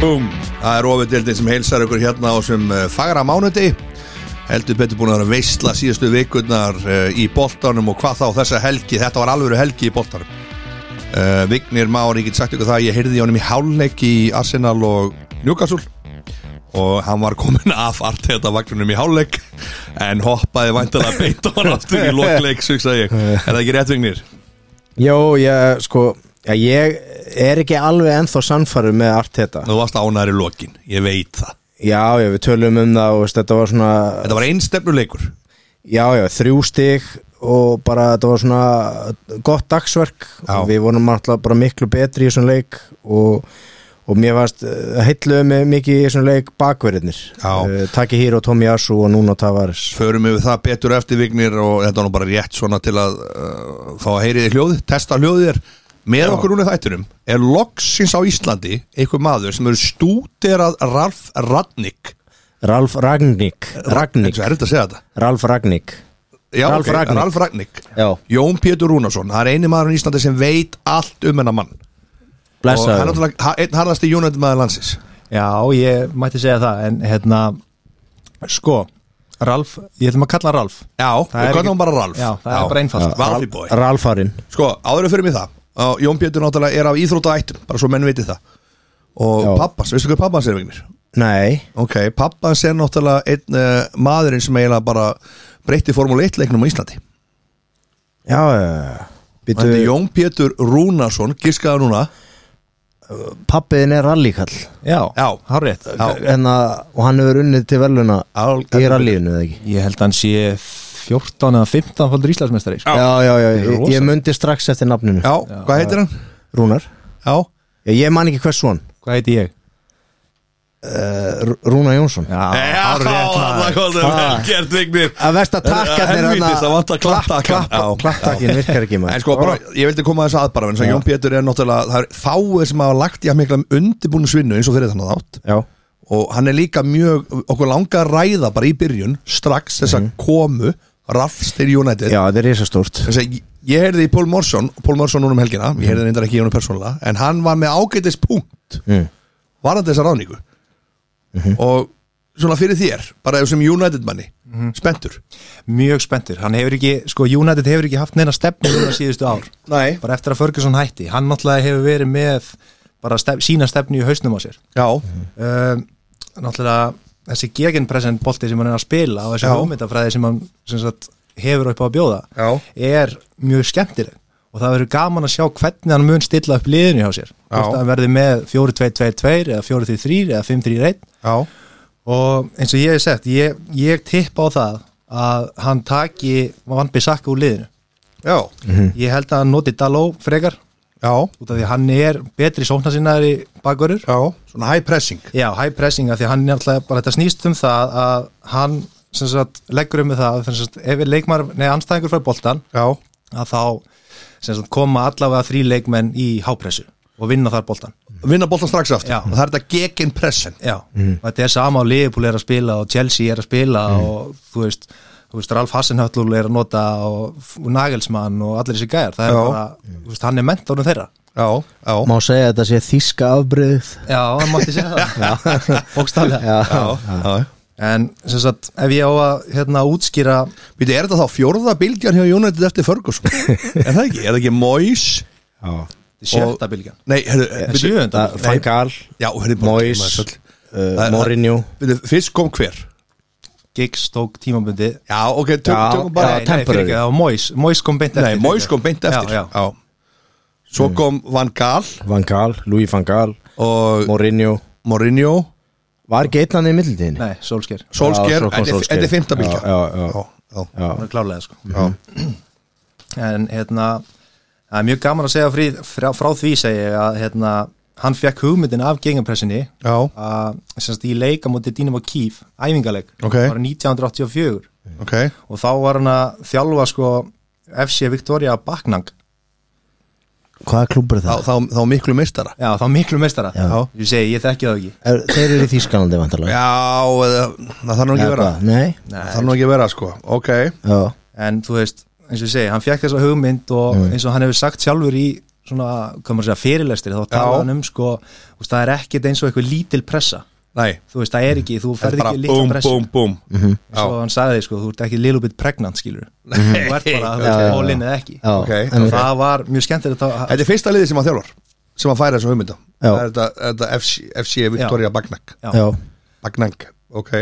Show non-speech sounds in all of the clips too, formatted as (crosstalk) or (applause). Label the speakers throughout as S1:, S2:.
S1: Búm
S2: Það er ofindildin sem heilsar ykkur hérna á sem fagra mánudegi heldur betur búin að vera að veistla síðustu vikurnar eh, í boltanum og hvað þá þessa helgi, þetta var alvöru helgi í boltanum uh, Vignir Már, ég get sagt ykkur það ég heyrði í honum í hálfleik í Arsenal og Newcastle og hann var komin (laughs) af Arteta vagnunum í hálfleik en hoppaði væntalega beint á hann aftur í lokleik, sugsaði ég Er það ekki rétt Vignir?
S3: Jó, ég, sko já, Ég er ekki alveg ennþá sannfæru með Arteta
S2: Þú varst ánæri lokin, ég veit það
S3: Já, já, við tölum um það og veist, þetta var svona
S2: Þetta var einstefnuleikur
S3: Já, já, þrjú stig og bara þetta var svona gott dagsverk
S2: Já.
S3: og við vorum alltaf bara miklu betri í þessum leik og, og mér varst heitluðu mig mikið í þessum leik bakverðinir
S2: Já.
S3: Taki Híro, Tomi Asu og Nuno Tavares
S2: förum yfir það betur eftir vignir og þetta er nú bara rétt svona til að uh, fá að heyri þið hljóð, testa hljóðið þér með okkur núna í þættinum er loksins á Íslandi einhver maður sem eru stúderað Ralf Radnik
S3: Ralf Ragník Ragník,
S2: er þetta að segja þetta?
S3: Ralf Ragník
S2: Já,
S3: Ralf
S2: ok,
S3: Ragnik.
S2: Ralf Ragnik.
S3: Já.
S2: Jón Pétur Rúnarsson, það er eini maður í Íslandi sem veit allt um hennar mann og hann er
S3: Blessaður
S2: náttúrulega ha- einn harðasti United maður landsins
S1: Já, ég mætti segja það En hérna, sko Ralf, ég ætlum að kalla hann Ralf
S2: Já, og
S1: er
S2: hvað
S1: ekki-
S2: hann bara Ralf
S1: Já, það er bara einfalt.
S2: Ralfi bói
S3: Ralfarinn
S2: Sko, áður en fyrir mig það og Jón Pétur náttúrulega er af íþróta ættum bara svo menn viti það og
S3: Já.
S2: pappans, veistu hvað pappans er vignir?
S3: Nei,
S2: Ok, pappans er náttúrulega einn uh, maðurinn sem eiginlega bara breytti Formule 1 leiknum á Íslandi
S3: já, já, já
S2: Þetta er
S3: Býtu,
S2: Jón Pétur Rúnarsson, giskaða núna
S3: pappiðin er rallíkall
S1: Já,
S2: Já.
S1: hárrétt
S2: Já,
S3: en að, og hann hefur unnið til veluna
S2: Al-
S3: í rallíinu eða ekki
S1: Ég held að hann sé 14 eða 15 fóldur Íslandsmeistari sko.
S3: já, já, já,
S1: er
S3: ég,
S1: rosa.
S3: ég myndi strax eftir nafninu
S2: já hvað heitir hann?
S3: Rúnar,
S2: Já,
S3: ég, ég man ekki hvers svon
S1: Hvað heiti ég?
S3: R Rúnar Jónsson
S1: Já, hárrétt
S2: það
S1: maður.
S2: kom það
S3: Ha.
S2: velgert vignir
S3: að versta takkarnir
S2: Helvítis, það vantar klapptakan. Já.
S3: klapptakkin virkar ekki maður
S2: En sko, bara, ég vildi koma þess að bara en svo Jón Pétur er náttúrulega, það er fáið sem hafa lagt í að mikla undirbúinu svinnu eins og fyrir þannig átt
S3: já,
S2: og hann er líka mjög, okkur langar að ræða bara í byrjun, strax þess að komu Rafs til United
S3: Mhm. já, þetta er risastórt
S2: þess að ég- ég heyrði í Pól Mórsson Pól Mórsson núna um helgina, ég heyrði reyndar ekki í honum persónulega en hann var með ágætis punkt
S3: Mm.
S2: varðandi þessa ráningu
S3: Mhm.
S2: og svona fyrir þér bara sem United manni, spenntur
S1: Mjög spenntur, hann hefur ekki, sko United hefur ekki haft neina stefni núna síðustu ár
S2: Nei.
S1: bara eftir að Ferguson hætti, hann náttúrulega hefur verið með bara stef, sína stefni í hausnum á sér
S2: Já,
S1: um, náttúrulega þessi gegenpresent bolti sem hann er að spila og þessi
S2: Já.
S1: hugmyndafræði sem hann sem sagt, hefur upp á að bjóða
S2: Já.
S1: er mjög skemmtileg og það verður gaman að sjá hvernig hann mun stilla upp liðinu hjá sér
S2: Já.
S1: hvort að hann verði með 4-2-2-2 eða 4-3-3 eða 5-3-1
S2: já,
S1: og eins og ég hef sett ég, ég tippa á það að hann taki Van Bissaka úr liðinu
S2: já,
S3: Mhm.
S1: ég held að hann noti Daló frekar
S2: já,
S1: út af því að hann er betri sóknarsinnaðri bakvörður
S2: já. svona high pressing
S1: Já, high pressing að því að hann er alltaf bara þetta snýst um það að hann sem sagt, leggur um með það sem sagt, ef leikmar, nei, anstæðingur frá boltan
S2: Já,
S1: að þá sem sagt, koma allavega þrý leikmenn í hápressu og vinna þar boltan
S2: vinna boltan strax aftur
S1: Já.
S2: og það er þetta gegin pressin
S1: Já,
S2: Mm.
S1: og þetta er sama á Liverpool er að spila og Chelsea er að spila og þú veist, þú veist Ralf Hasenhöllul er að nota og, og Nagelsmann og allir þessi gæjar það er
S2: Já.
S1: bara, þú veist, hann er mentorinn þeirra
S2: Já, já,
S3: má segja að þetta sé þíska afbröðið
S1: Já, það mátti segja
S2: (laughs)
S1: það Bókstaflega
S3: já,
S2: já.
S1: En sem sagt, ef ég á að hérna útskýra
S2: Býtu, er þetta þá fjórða bylgjan hjá United eftir Ferguson? (laughs) er það ekki? Er það ekki Moyes?
S3: já.
S1: sjötta bylgjan
S2: Nei, herru, býtu,
S1: sjöunda
S3: Það- Van Gaal,
S2: já, herru, bara-
S3: Moyes
S2: maður er svöll.
S3: uh,
S2: Það-
S3: Mourinho
S2: Býtu, fyrst kom hver?
S1: Giggs tók tímabundi
S2: Já, ok, tök,
S3: Já,
S2: tökum bara
S3: já, temporary.
S1: fyrir ekki, það var Mois Mois kom beint eftir
S2: Nei, Moyes kom beint eftir
S1: já, já.
S2: Svo kom Van Gaal
S3: Van Gaal, Louis Van Gaal
S2: og
S3: Mourinho
S2: Mourinho
S3: var ekki einn hann í middildinni
S1: Nei, Solskjær
S2: Solskjær,
S3: svo
S2: þetta
S3: kom
S2: er-
S3: Solskjaer.
S2: þetta er fymta bylgja
S3: Já, já, já.
S2: já, já.
S1: Það er klálega sko
S2: já.
S1: En hérna, það er mjög gaman að segja frí, frá, frá því segi ég að hérna, hann fekk hugmyndin af gengapressinni
S2: já.
S1: að, sem sagt, í leika mútið Dynamo Kýf, æfingaleg
S2: Ok.
S1: Það var 1984
S2: ok
S1: og þá var hann að þjálfa sko FC Victoria Baknang
S3: hvaða klubur er
S2: Þá,
S3: það?
S2: þá, þá miklu mistara
S1: Já, þá miklu mestara
S3: Já.
S1: Ég segi, ég þekki það ekki
S3: Er, þeir eru í Þískalandi vantarlega
S2: Já, eða, það þarf nú ekki að vera
S3: nei,
S2: Það þarf nú ekki að vera, sko Ok,
S3: já,
S1: en þú veist, eins og ég segi, hann fekk þessa hugmynd og eins og hann hefur sagt sjálfur í svona, hvað maður segja, fyrirlestir þá talaði hann um sko, þú veist, það er ekkit eins og eitthvað lítil pressa
S2: Nei,
S1: þú veist, það er ekki, þú
S2: þetta er
S1: ferð
S2: bara
S1: ekki litla
S2: búm,
S1: pressu
S2: búm, búm (laughs)
S1: svo hann sagði sko, þú ert ekki little bit pregnant skilur
S2: Nei.
S1: þú ert bara, þú
S2: Já,
S1: veist,
S3: já, já.
S1: all in eða ekki
S3: Já,
S2: Ok.
S1: og
S3: einmitt.
S1: það var mjög skemmtilegt að
S2: Þetta er fyrsta liði sem að þjálfar sem að færa þessum hugmynda
S3: Já.
S2: Það er þetta, þetta FC, FC Victoria Bagnang
S1: já,
S3: já,
S2: Bagnang, ok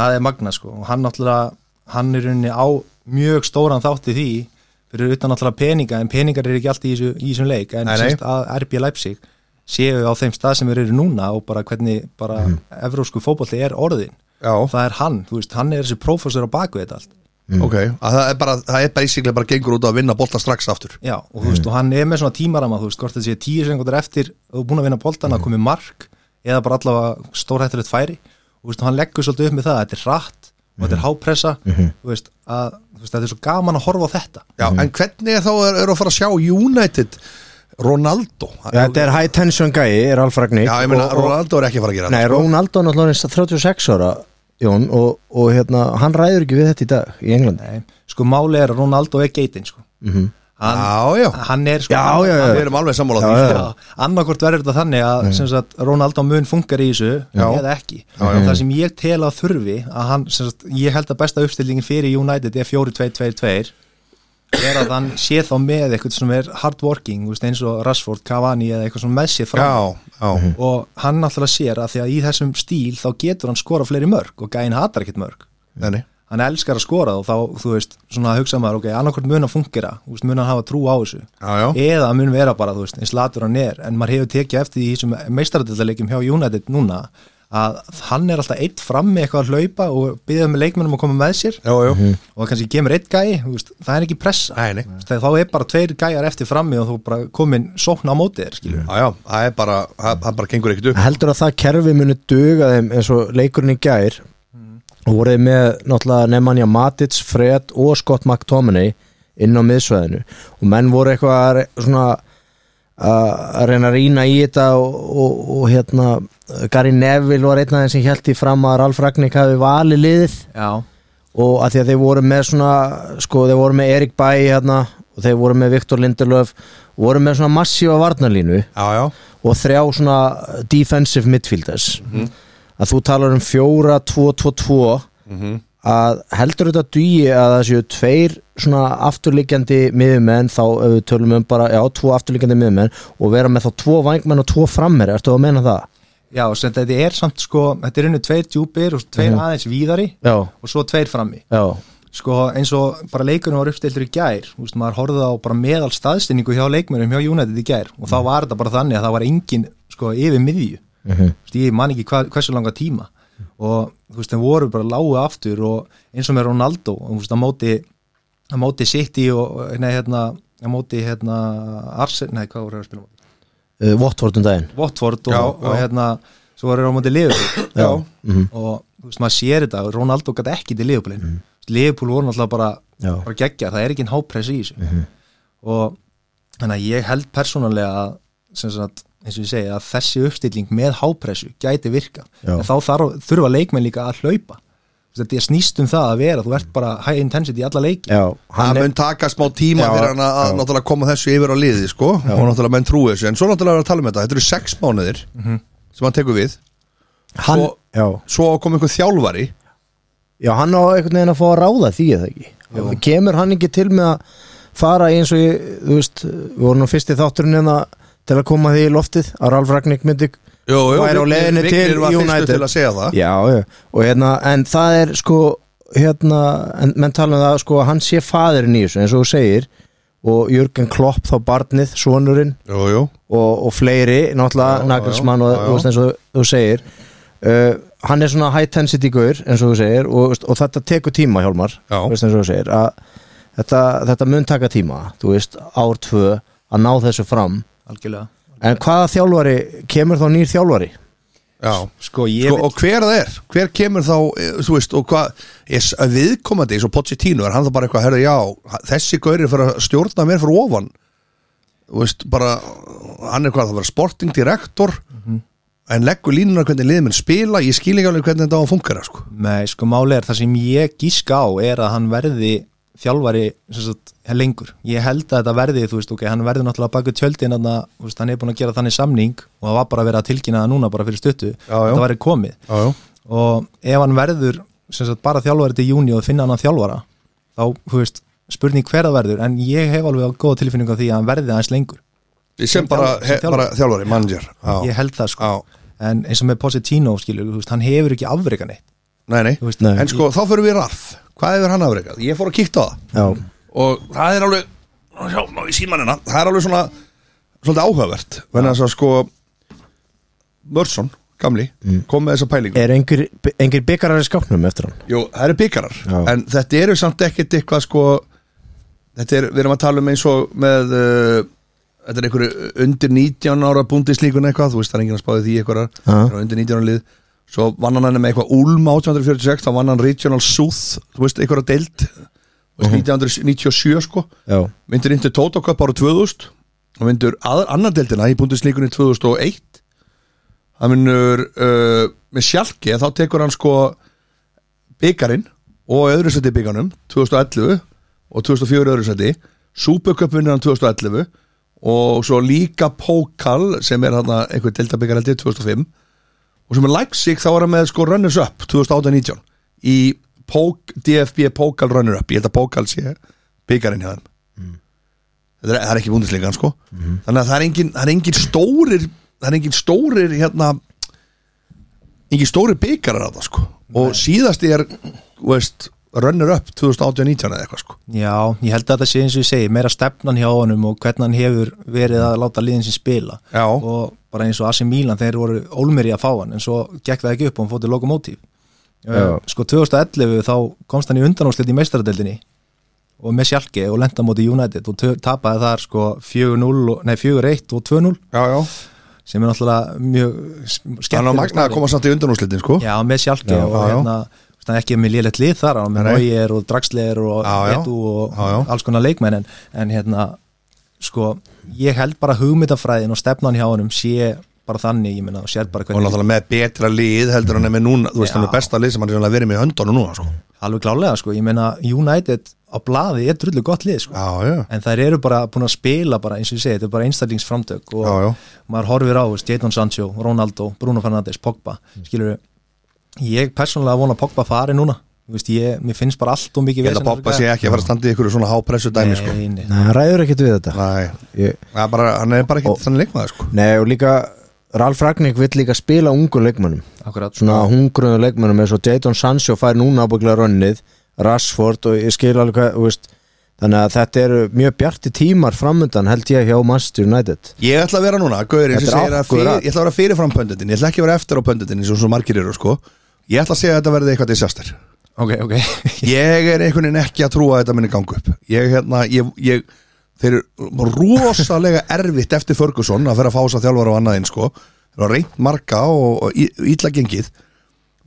S1: það er magna sko og hann náttúrulega, hann er unni á mjög stóran þátti því fyrir utan náttúrulega peninga, en peningar er ekki allt í þessu- í þessum leik, en
S2: Nei, nei.
S1: sérst að RB Leipzig séu á þeim stað sem við eru núna og bara hvernig bara
S2: Mhm.
S1: evrósku fótbolli er orðin
S2: Já,
S1: það er hann, þú veist, hann er þessi prófessor á baku þetta allt,
S2: ok að Það er bara, það er basically bara gengur út á að vinna bolta strax aftur
S1: já, og þú veist, og hann er með svona tímarama, þú veist, hvort það sé tíu sekundur eftir og búin að vinna boltan að komi mark eða bara allavega stórhættulegt færi og þú veist, og hann leggur svolítið upp með það, þetta er hratt og þetta er hápressa, þú veist, að, þú veist, þetta er svo gaman að horfa á þetta
S2: Já, en hvernig er þá er, er að fara að sjá United Ronaldo
S3: Já, þetta er high tension gæi, er alfragni
S2: Já, ég meina, Ronaldo sko. er ekki að fara að gera
S3: Nei, Ronaldo er náttúrulega orðinn 36 ára Jón, og, og hérna, hann ræður ekki við þetta í dag í Englandi
S1: Nei, sko máli er að Ronaldo er geitin sko. hann,
S2: Já, já,
S1: hann er sko
S3: Já, já,
S2: við erum alveg sammála á því sko.
S1: já. annarkvort verður þetta þannig að sem sagt, Ronaldo mun fungar í þessu eða ekki, það sem ég tel að þurfi að hann, sem sagt, ég held að besta uppstillingin fyrir United er 4-2-2-2 er að hann sé þá með eitthvað sem er hardworking þú veist, eins og Rashford, Cavani eða eitthvað sem með sér fram
S2: Já, já,
S1: og hann náttúrulega sér að því að í þessum stíl þá getur hann skora fleiri mörg og gæin hatar ekkert mörg
S2: þenni
S1: hann elskar að skora og þá, þú veist, svona að hugsa maður, ok, annarkvort mun að fungera, þú veist, mun hann hafa trú á þessu
S2: Já, já,
S1: eða mun vera bara, þú veist, eins latur hann er en maður hefur tekið eftir því í þessum meistaradeldaleikjum hjá United núna að hann er alltaf eitt fram með eitthvað að hlaupa og byggðið með leikmennum að koma með sér
S2: já, já
S3: Mhm.
S1: og það kannski gemur eitt gæi, þú veist, það er ekki pressa
S2: Nei, nei.
S1: Þú veist, þá er bara tveir gæjar eftir frammi og þú bara komin sókn á mótið þér, skilur
S2: Já, já, það er bara, það það bara gengur ekkert upp
S3: heldur að það kerfi muni duga þeim eins og leikurinn í gær og voruð með náttúrulega Nemanja Matic, Fred og Scott McTominay inn á miðsvæðinu og menn voru eitthvað að re- svona að að reyna að rýna í þetta og, og, og hérna Gary Neville var einn af þeim sem held í fram að Ralf Ragnik hafi valið liðið
S1: Já,
S3: og að því að þeir voru með svona sko þeir voru með Erik Bæ hérna og þeir voru með Viktor Lindelöf voru með svona massífa varnarlínu
S2: Já, já,
S3: og þrjá svona defensive midfielders að þú talar um fjóra, tvo, tvo, tvo að heldur þetta dugi að það séu tveir svona afturliggjandi miðumenn þá ef við tölum um bara, já, tvo afturliggjandi miðumenn og vera með þá tvo vangmenn og tvo frammeri ertu að meina það?
S1: já, sem þetta er samt sko, þetta er unni tveir djúpir og tveir
S2: Mhm.
S1: aðeins víðari
S3: Já,
S1: og svo tveir frammi
S3: já,
S1: sko eins og bara leikunum var uppstiltur í gær þú veist, maður horfði á bara meðal staðstinningu hjá leikmennum hjá United í gær og þá
S2: Mhm.
S1: var þetta bara þannig að það var engin sko yfir miðju,
S3: Mhm.
S1: Þú veist, ég man ekki hva, hversu langa tíma og þú veist, þeim voru bara lágu aftur og eins og með Ronaldo og þú veist, að móti að móti City og nei, hérna, að móti hérna Arsenal, nei, hvað voru þeir að spila á móti?
S3: uh, Watford um daginn
S1: Watford og,
S2: Já,
S1: og
S2: já.
S1: hérna svo voru þeir á móti Liverpool
S2: Já. Mhm.
S1: og þú veist maður sér þetta og Ronaldo gæti ekki til Liverpool mm -hmm. Liverpool voru náttúrulega bara,
S3: Já.
S1: bara geggja, það er ekki en hápress í þessu
S3: Mhm.
S1: og þannig að ég held persónulega að sem sagt, eins og ég segi að þessi uppstilling með hápressu gæti virka
S3: Já.
S1: en þá þarf, þurfa leikmenn líka að hlaupa Þú veist, þetta er snýst um það að vera þú ert bara high intensity í alla leiki
S3: Já, hann
S2: það
S3: er,
S2: mun taka smá tíma
S3: Já,
S2: fyrir hann að að
S3: já.
S2: náttúrulega koma þessu yfir á liði sko, og náttúrulega menn trúi þessu en svo náttúrulega er að tala um þetta, þetta eru sex mánuðir
S3: Mhm.
S2: sem hann tekur við,
S3: hann,
S2: svo-
S3: já,
S2: svo kom einhver þjálfari
S3: já, hann á einhvern veginn að fá að ráða því eða ekki kemur hann ekki til með að fara eins og ég, þú veist við vorum nú fyrst í þátturinn en til að koma því í loftið að Ralf Ragnik myndi
S2: Jó, jó,
S3: væri á
S2: Vignir-
S3: leiðinni
S2: Vignir
S3: til
S2: var fyrstur
S3: United
S2: til að segja það.
S3: já, já, og hérna, en það er sko, hérna, en menn tala um það sko, að hann sé faðurinn í þessu eins og þú segir, og Jörgen Klopp þá barnið, sonurinn
S2: jú, jú,
S3: og, og fleiri, náttúrulega
S2: Já,
S3: Nagelsmann
S2: já,
S3: og
S2: já,
S3: þú veist eins og þú segir uh, hann er svona high intensity gaur eins og þú segir og, veist, og þetta tekur tíma Hjálmar
S2: Já.
S3: þú veist eins og þú segir að þetta, þetta mun taka tíma þú veist, ár tvö að ná þessu fram
S1: algjörlega
S3: en hvaða þjálfari, kemur þá nýr þjálfari?
S2: já
S1: sko ég
S2: Sko,
S1: veit
S2: og hver það er, hver kemur þá eh, þú veist, og hvað, er s- að viðkomandi eins og Pochettino, er hann þá bara eitthvað, herðu, já þessi gauri fyrir að stjórna mér fyrir ofan þú veist, bara hann er hvað, það var sporting direktor en leggur línuna hvernig liðið minn spila, ég skil ekki alveg hvernig þetta á að fungera sko.
S1: Nei, sko máli er það sem ég gíska á er að hann verði þjálfari sem sagt, lengur ég held að þetta verði, þú veist, ok, hann verði náttúrulega baku tjöldin, hann, veist, hann er búin að gera þannig samning og það var bara að vera að tilkynna það núna bara fyrir stuttu,
S2: já.
S1: þetta verði komið
S2: já, já.
S1: og ef hann verður sem sagt, bara þjálfari til júni og finna hann að þjálfara þá, þú veist, spurning hver að verður en ég hef alveg á góða tilfinningu af því að hann verði aðeins lengur,
S2: Sem, sem bara,
S1: þjálfari- sem
S2: he, bara þjálfari, manager já,
S1: ég held það sko
S2: já,
S1: en eins og með Positino, skilur, þú veist, hann hefur ekki afreika neitt,
S2: nei, nei
S1: þú veist,
S3: Nei.
S2: En sko, þá fyrir við í Ralf Hvað hefur hann afreikað? Ég fór að kíkta á það
S3: já,
S2: Og það er alveg Sjá, má ég síma hennar hérna. Það er alveg svona Svolítið áhugavert Venna þess að sko Mörsson, gamli
S3: Mm.
S2: Kom með þessa pælingu
S3: er einhver, einhver byggarar í skápnum eftir hann
S2: Jú, það eru byggarar
S3: Já.
S2: En þetta eru samt ekkert eitthvað sko Þetta er, við erum að tala um eins og með uh, Þetta er einhverju undir 19 ára búndislíkun eitthvað Þú veist, það er enginn að spáði því einhverjar
S3: Já.
S2: Það eru undir 19 ára lið Svo vann hann hann með eitthvað Ulm 1846 Þá vann hann Regional South Þú veist, einhverja deild Þú
S3: Mhm.
S2: veist, 1997 sko
S3: já,
S2: Vindur Inter Toto Cup ára 2000 og vindur aðar annan deildina í búndislíkunni 2001 hann vinnur uh, með sjálki þá tekur hann sko byggarinn og öðru seti byggarnum 2011 og 2004 öðru seti Supercup vinnur hann 2011 og svo líka Pókal sem er hann einhver deildabyggar heldur 2005 og sem er Leipzig þá var hann með sko runners up 2008-19 í Pók, DFB Pókal runner up ég held að Pókal sé byggarinn hjá þeim þetta er, það er ekki búndisleikan sko þannig að það er engin, það er engin stórir það er engin stórir hérna engin stórir byggarar að það sko og síðasti er þú veist, runner up 2018-19 eða eitthvað sko
S1: Já, ég held að þetta sé eins og ég segi meira stefnan hjá honum og hvernig hann hefur verið að láta liðin sem spila
S2: Já.
S1: og bara eins og AC Milan þeir voru ólmeri að fá hann en svo gekk það ekki upp og hann fótið lokomotív
S3: Já.
S1: Sko 2011 þá komst hann í undanáslit í meistaradeldinni og með sjálki og lenda móti United og tö- tapaði þar sko 4-0 og- nei 4-1 og 2-0
S2: já, já.
S1: sem er náttúrulega mjög
S2: þannig að magna að
S1: staðreynd.
S2: koma samt í undanúslitin sko
S1: Já, með sjálki
S2: Já,
S1: og
S2: já, já.
S1: hérna það er ekki með lélegt lið þar hann með
S2: Nei.
S1: Nóier og Draxler og
S2: Já, já.
S1: Edu og
S2: Já, já.
S1: alls konar leikmenn en, en hérna, sko ég held bara hugmyndafræðin og stefnan hjá honum sé bara þannig, ég meina og sér bara
S2: og
S1: hvernig
S2: náttúrulega með betra lið heldur hann er með núna þú veist hann er
S1: Já.
S2: besta lið sem hann er sennilega verið með í höndunum núna sko
S1: alveg klálega, sko, ég meina United á blaði er drullu gott lið, sko
S2: já, já,
S1: en þær eru bara búin að spila bara eins og ég segi, þetta er bara einstaklingsframtök og
S2: já, já,
S1: maður horfir á, veist, Jadon Sancho, Ronaldo Bruno Fernandes, Pogba,
S2: Mm.
S1: skilur ég persónulega vona að Pogba fari núna Þú veist, ég, mér finnst bara allt og
S2: ég
S1: mikið
S2: held
S1: vesen
S2: að
S1: þessu
S2: Bobba
S1: gæja.
S2: sé ekki að fara að standa í ykkur svona hápressu dæmi sko
S1: Nei, nei.
S3: Nei, hann ræður ekkert við þetta
S2: Nei,
S3: ég,
S2: það er bara, hann er bara
S3: Og-
S2: ekki þannig leikmaður sko
S3: nei, og líka Ralf Ragník vill líka spila ungu leikmannum
S1: Akkurat
S3: svona hungruðu leikmennum eins og Jadon Sancho fær núna ábygglega rönnið Rashford og ég skil alveg hvað þú veist, þannig að þetta eru mjög bjarti tímar framöndan held ég hjá Manchester United
S2: Ég ætla að vera núna, Gauri, sem
S3: Þetta er
S2: segir að
S3: akkurat.
S2: fyrir, ég ætla að vera fyrirfram pöndutin, ég ætla ekki að vera eftir á pöndutin eins og svo margir eru, sko Ég ætla að segja að þetta verði eitthvað disaster
S1: Ok, ok (laughs)
S2: Ég er einhvern veginn ekki að trúa að þetta minni gangu upp Ég, hérna, ég, ég þeir eru rosalega (laughs) erfitt eftir Ferguson að vera að fá þess að þjálfara og annaðinn, sko Þeir eru að reynt marga og, og í- illa gengið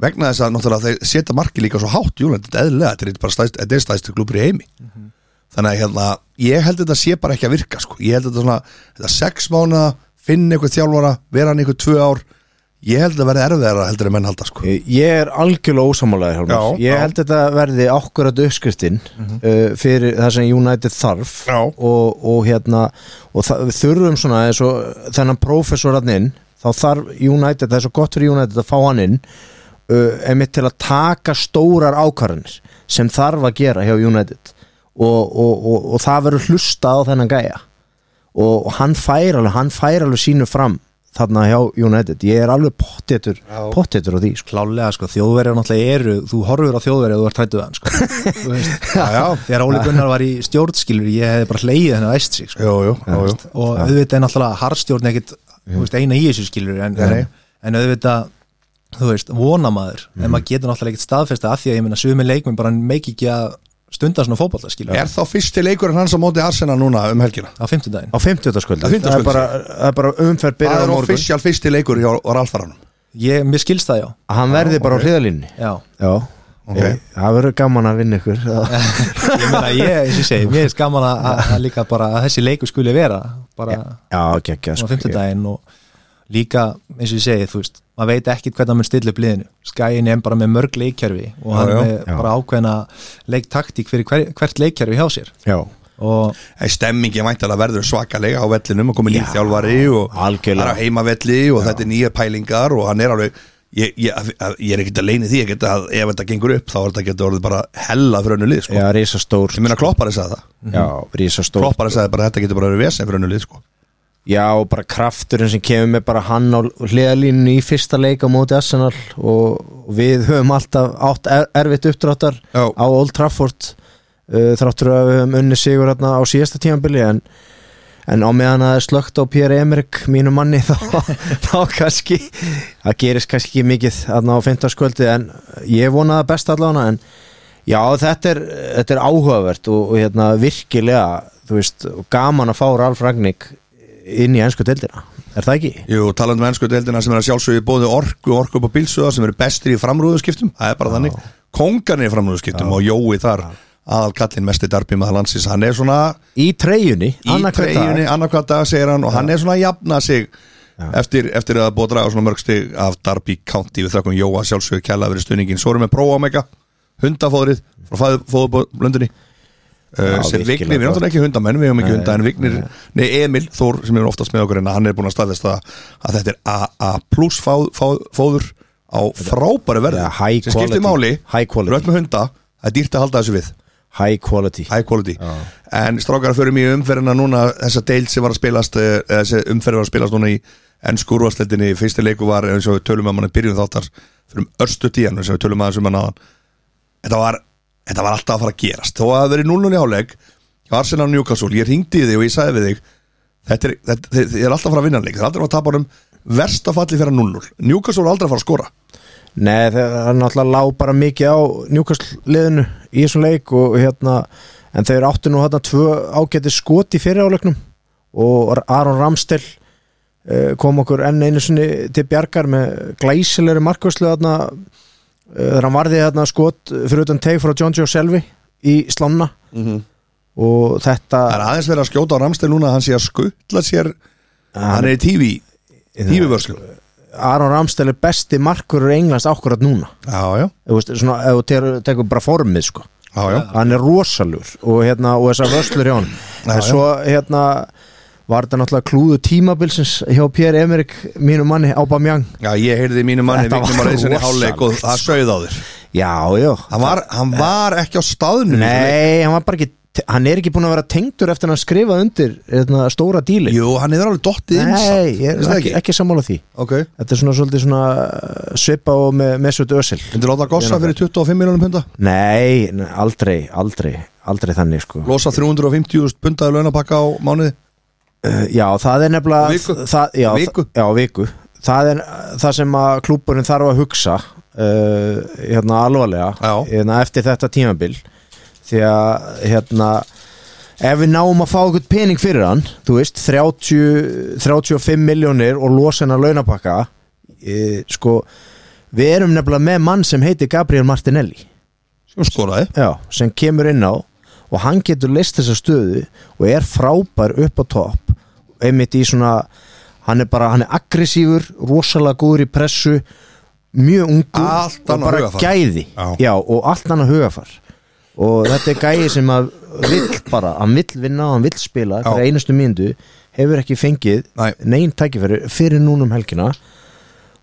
S2: vegna þess að náttúrulega þeir setja marki líka svo hátt, jú, þetta er eðlilega þetta er bara stæst, þetta er stæstu klubur í heimi þannig að hérna, ég held að þetta sé bara ekki að virka sko. ég held að þetta svona þetta sex mánuða, finn einhver þjálfara vera hann einhver tvö ár ég held að verði erfiðara heldur en menn halda sko.
S3: Ég Eh, ég er algjörlega ósamálaði Hjálmar,
S2: Já,
S3: ég
S2: já. Mhm.
S3: held þetta verði akkurat uppskriftin uh, fyrir það sem United þarf
S2: Já.
S3: og, og hérna og það- við þurfum svona eins og þennan professor hann inn, þá þarf United það er svo gott fyrir United að fá hann inn uh, einmitt til að taka stórar ákvarðanir sem þarf að gera hjá United og, og, og, og það verður hlusta á þennan gæja og, og hann fær alveg hann fær alveg sínu fram þarna hjá United, ég er alveg pottetur pottetur á því sko.
S1: Klálega sko, þjóðverjar náttúrulega eru Þú horfur á þjóðverjar og þú ert hrættuð
S2: (laughs)
S1: hann sko Þú veist,
S2: já, já,
S1: Þegar Óli Gunnar var í stjórnskilur Ég hefði bara hleyið henni að æst sig sko
S2: jú, jú, jú, jú.
S1: Og auðvitað er náttúrulega harðstjórn ekkit Þú veist, eina í þessu skilur En,
S2: Nei.
S1: en, en auðvitað Þú veist, vonamaður
S2: Mhm.
S1: En maður getur náttúrulega ekkit staðfesta Af því að ég meina sumi leikmenn bara meik ekki að stunda svona fótballa skilur
S2: er þá fyrsti leikurinn hans á móti Arsena núna um helgina
S1: Á fimmtudaginn
S3: á 50.
S2: Á
S3: skvöldi,
S2: 50.
S3: það er bara, það er bara umferð
S2: það
S3: byrjar á
S2: er
S3: morgun,
S2: offisjál fyrsti leikur hjá Ralfaranum
S1: Ég, mér skilst það já
S3: hann verði bara á hliðalínni
S1: Já,
S3: já,
S2: Ok.
S3: Ég- það verður gaman að vinna ykkur já,
S1: ég meina ég, eins og ég segi, mér er skaman að að líka bara að þessi leiku skuli vera bara
S3: já, gekkja
S1: á
S3: sko.
S1: fimmtudaginn og líka eins og ég segi, þú veist, maður veit ekkit hvernig hann mun stilla upp liðinu, Skæin er bara með mörg leikkerfi og
S2: Já,
S1: hann
S2: já.
S1: er
S3: Já.
S1: bara ákveðna leiktaktík fyrir hver, hvert leikkerfi hjá sér
S3: já,
S1: og
S2: En stemmingi væntalega verður svakalega á vellinum og komið nýtt þjálfari og
S3: algjörlega.
S2: það er á heimavelli og þetta er nýja pælingar og hann er alveg ég, ég, ég er ekkert að leini því ekkert að ef þetta gengur upp þá er þetta ekki orðið bara hella fyrir önnu lið sko.
S3: já, risastór
S2: ég meina kloppari sagði það
S3: já, risastór
S2: kloppari sagði bara að þetta getur bara verið vesen fyrir önnu lið sko.
S3: Já, og bara krafturinn sem kemur með bara hann á hliðalínu í fyrsta leik á móti Arsenal og við höfum alltaf átt er, erfitt uppdráttar
S2: Já.
S3: á Old Trafford uh, þráttur að við höfum unni sigur hérna á síðasta tímanbili en, en á meðan að það er slögt á Pierre Emmerich mínu manni (laughs) þá, þá kannski það gerist kannski ekki mikið hérna á 15. en ég vona það best allavega en Já, þetta er, þetta er áhugavert og, og hérna, virkilega þú veist, og gaman að fá Ralf Ragnik inn í ennsku deildina er það ekki?
S2: Jú, talandi með ennsku deildina sem er að sjálfsögja bóði orku, orku upp á bílsöða sem eru bestir í framrúðuskiptum, það er bara þannig kongarnir í framrúðuskiptum og Jói þar aðal kallinn mest í darbi maður landsins hann er svona
S3: Í treyjunni,
S2: í treyjunni, annarkvæða dag segir hann og hann er svona að jafna sig eftir, eftir að það er búið að draga svona mörgsti af darbi county við þakkum Jóa sjálfsögja kæla verið stunningin, svo erum við Pro Omega hundafóðrið frá fóðublöndinni Uh,
S3: Já,
S2: sem
S3: virkilega
S2: Vignir, við erum
S3: gott.
S2: náttúrulega ekki hundamenn við hefum ekki hunda en Vignir, nei Emil Þór sem er oftast með okkur en hann er búin að staðast að, að þetta er AA plus fá, fá, fóður á frábæru verði
S3: Ja, high
S2: sem skiptir
S3: quality.
S2: máli,
S3: High quality.
S2: rödd með hunda það er dýrt að halda þessu við
S3: High quality
S2: high quality en strákar förum í umferðina núna þessa deil sem var að spilast eh, eða þessi umferð var að spilast núna í ennsku úrvarsleitinni fyrsti leiku var eins og við tölum að manni byrjun þáttar fyrir um örstu tíjan eins og við tölum að þessum að náðan þetta var, þetta var alltaf að fara að gerast þó að það hafi verið núlunni áleg ég var sinna á Newcastle, ég ringdi í þig og ég sagði við þig þetta er, þetta, þið, þið er alltaf að fara að vinna leik það er aldrei að fara að tapa honum versta falli fyrir að 0-0 Newcastle er aldrei að fara að skora
S3: Nei, það er náttúrulega lág bara mikið á njúkastliðinu í þessum leik og hérna, en þeir áttu nú hérna tvö ágæti skot í fyriráleiknum og Aron Ramstel eh, kom okkur enn einu sinni til bjargar með glæsilegri markvæslu þarna eh, þegar hann varði þarna skot fyrir utan teig frá John Joe Selvi í slána
S2: Mhm.
S3: og þetta
S2: það er aðeins verið að skjóta á Ramstein núna að hann sé að skutla sér hann er í TV, TV vörslu
S3: Aron Ramstel er besti markurur Englands ákvarðat núna
S2: Já, já,
S3: Þú veist, svona, ef þú tekur- tekur bara formið sko.
S2: já, já.
S3: hann er rosalur og, hérna, og þessar vörslur hjá hann
S2: Já,
S3: en
S2: já.
S3: svo hérna var þetta náttúrulega klúðu tímabilsins hjá Pierre Emmerich, mínu manni Aubameyang
S2: já ég heyrði í mínu manni
S3: Þetta
S2: Vignum
S3: var
S2: bara þessan í hálfleik og
S3: rosalegt.
S2: það sögði á þér
S3: já, já
S2: Hann var, hann var ekki á staðnum í þessum leik.
S3: nei, hann var bara ekki hann er ekki búin að vera tengdur eftir að hann skrifa undir hérna, stóra díli
S2: Jú, hann er alveg dottið inn
S3: nei, ég er
S2: Veistu það
S3: ekki, ekki sammála því
S2: Ok,
S3: þetta er svona svolítið svona uh, svipa og með, með sveit ösil
S2: myndi láta gossa fyrir 25 miljonum punda
S3: nei, nei, aldrei, aldrei aldrei þannig sko
S2: Losa 350.000 pundaði launapakka á mánuði
S3: Uh, Já, það er nefnilega
S2: Á viku?
S3: Það, já,
S2: Viku?
S3: Já, viku Það er uh, það sem að klúburinn þarf að hugsa uh, hérna alvarlega
S2: Já.
S3: hérna, eftir þetta tímabil því að hérna ef við náum að fá eitthvað pening fyrir hann þú veist, 30, 35 miljónir og losa hennar launapakka e, sko við erum nefnilega með mann sem heitir Gabriel Martinelli
S2: Sem Sko, skoraði
S3: já, sem kemur inn á og hann getur leist þessa stöðu og er frábær upp á topp einmitt í svona hann er bara, hann er aggressífur, rosalega góður í pressu mjög ungur
S2: Allt
S3: og
S2: annað
S3: bara
S2: hugarfar.
S3: gæði
S2: Já.
S3: og allt annað hugafar og þetta er gæði sem að vill bara, hann vill vinna og hann vill spila
S2: Já.
S3: hverja einustu mínundu, hefur ekki fengið
S2: Nei.
S3: negin tækifæri fyrir núnum helgina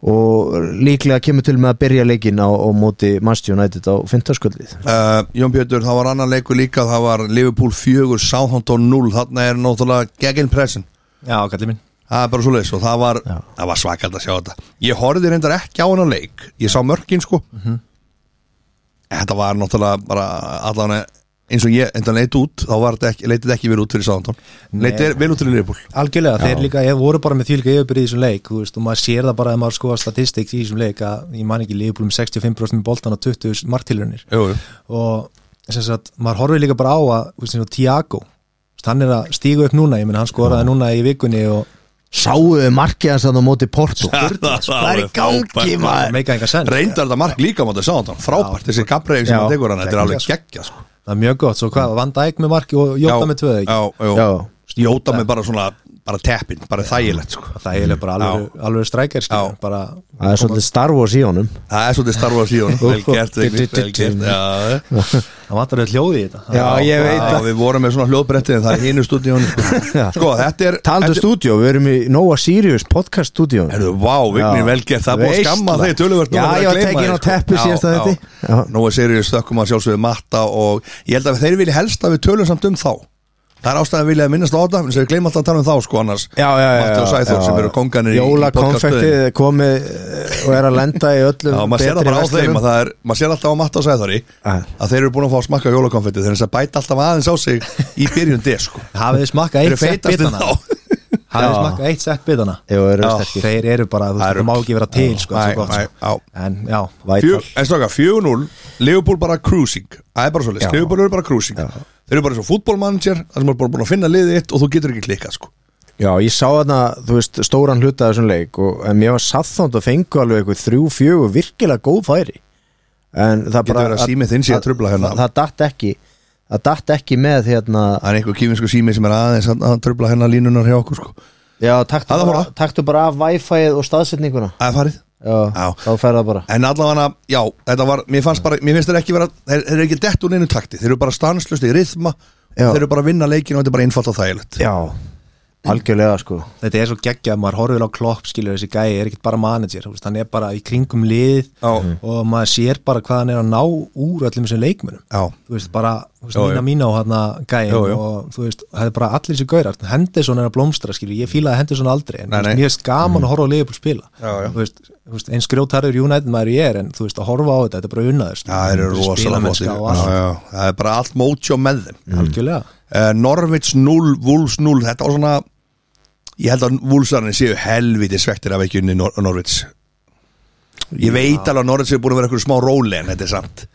S3: og líklega kemur til með að byrja leikin á, á móti Manchester United á fintasköldið
S2: Uh, Jón Pétur, það var annan leiku líka það var Liverpool 4, Southampton 0 þarna er náttúrulega gegn pressin
S1: já, kallið minn
S2: það er bara svo leiðis og það var,
S3: Já.
S2: það var svakald að sjá þetta ég horfði reyndar ekki á hennar leik ég sá mörkin sko
S3: Mhm.
S2: en þetta var náttúrulega bara allan eins og ég enda leit út þá var þetta ekki, leitið ekki verið út fyrir Sándón leitið vel út fyrir Leifbúl
S1: Algjörlega, þeir líka, ég voru bara með því líka yfirbyrði í þessum leik, þú veist, og maður sér það bara ef maður skoða statistik í þessum leik að ég man ekki lífbúl um 65% með boltan og 20 marktilrunir og sem sagt, maður horfir líka bara á að, þú veist, eins og Tiago þú veist, hann er að stíga upp núna, ég menn hann skoraði núna í vikunni og
S3: Sáuðu markið hans að það móti Porto
S2: það
S3: Það er í gangi maður
S1: meika enga senn
S2: reyndar þetta mark líka mátt að Sándón frábært, þessi Gabriel sem
S3: Já.
S2: hann tekur hann þetta er alveg geggja sko.
S1: það er mjög gott, svo hvað, Van Dijk með marki og Jóta með tvöði
S2: já, já.
S3: Já,
S2: Jóta með bara svona bara teppin, bara þægilegt sko.
S1: það er bara alveg, alveg strækir
S2: Já.
S1: bara,
S3: það er svolítið Star Wars í honum
S2: það er svolítið starfa síðan vel gert, Vignis, vel gert já, eh.
S1: það vantar auðvitað hljóði í þetta
S3: Já, ég veit
S2: já, við vorum með svona hljóðbretti en það er hinu stúdíun sko. sko, þetta er
S3: Taldu
S2: þetta-
S3: um stúdíó, við erum í Nova Sirius podcast stúdíó
S2: Herðu, vá, Vignir
S3: Já.
S2: velgerð, það er búið að
S3: Veistla.
S2: skamma þeir töluvert
S3: Já, ég var tekin á teppi síðasta þetta. Já.
S2: sko. Nú er Sirius þökkum að sjálfsögðu matta og ég held að þeir vilja helst að við tölum samt um þá Það er ástæðan að vilja að minnast á þetta en þeir gleyma alltaf að tala um þá sko annars
S3: Já, já, já,
S2: Matti og
S3: já,
S2: Sæþór
S3: já.
S2: sem eru konganir í- í
S3: Jóla konfektið
S2: podcaststöðinni.
S3: er komið eh, og er að lenda í öllum
S2: Já, maður sér það bara á þeim að það er, maður sér alltaf á Matta og Sæþóri
S3: Já.
S2: að þeir eru búin að fá að smakka jólakonfetti þeir er að bæta alltaf aðeins á sig í byrjun des sko.
S1: hafið þið smakkað
S2: Þeir
S1: eitt
S2: eru
S1: sett
S2: feitast (laughs)
S1: bitana hafið þið smakkað eitt sett bitana
S3: Jú, eru
S1: Já,
S3: sterkir.
S1: Ah, þeir eru bara, þú
S2: Það
S1: veist,
S2: eru-
S1: það má ekki vera til sko,
S2: Næ,
S1: svo gott,
S2: næ,
S1: sko.
S2: á
S1: en já,
S3: Vætal
S2: En stóka, 4-0 Liverpool bara cruising Það er bara svolítið,
S3: Já.
S2: Liverpool eru bara cruising Þeir eru bara svo fútbolmanager Það sem er bara búin að finna liðið eitt og þú getur ekki klikað sko.
S3: Já, ég sá þarna, þú veist, stóran hluta af þessum leik og en mér var saðþónd að fengu alveg eitthvað þrjú, fjögur, virkilega góð færi en það
S2: Getur
S3: bara
S2: verið að símið þinn sé að trufla hérna.
S3: Það, það datt ekki, það datt ekki með hérna,
S2: Það er einhver kýfinsku sími sem er aðeins að, að tröfla hennar línunar hjá okkur sko.
S3: já, taktu
S2: Það var
S3: bara,
S2: það.
S3: taktu bara af Wi-Fi-ið og staðsetninguna
S2: Það er farið
S3: Já,
S2: Já.
S3: þá fer það bara
S2: En allavega, já, þetta var Mér, fannst bara, mér finnst þeir ekki vera Þeir, þeir eru ekki dett úr neinu takti Þeir eru bara stanslust í rithma
S3: Já.
S2: Þeir eru bara að vinna leikin og þetta er bara einfalt og þægilegt
S3: Já, algjörlega sko
S1: þetta er svo geggjað maður horfir á klopp, skilur þessi gæi er ekkert bara manager, þú veist, hann er bara í kringum lið
S2: Já.
S1: og maður sér bara hvað hann er að ná úr öllum þessum leikmönum
S2: Já.
S1: þú veist, bara, þú veist,
S2: Jú, jú.
S1: Nina Mino hann gæi
S2: Jú, jú.
S1: og þú veist, það er bara allir þessi gaurar Henderson er að blómstra, skilur, ég fílaði Henderson aldrei en
S2: Nei,
S1: þú veist,
S2: nei.
S1: mér er skaman að horfa á Liverpool spila
S2: Já, já.
S1: Þú veist, þú veist, eins grjótarður United maður ég er en þú veist, að horfa á þetta, þetta er bara unnaður
S2: Já, þeir eru rosalega flottir.
S1: spilamennska og allt,
S2: Já, já. Það er bara allt mótsjó með þeim
S1: algjörlega
S2: uh, Norvits 0, Wolves 0 þetta var svona ég held að Wolvesarnir séu helviti svektir af ekki unni Nor Norvits ég veit alveg að Norvits er búin að vera eitthvað smá róli en þetta er samt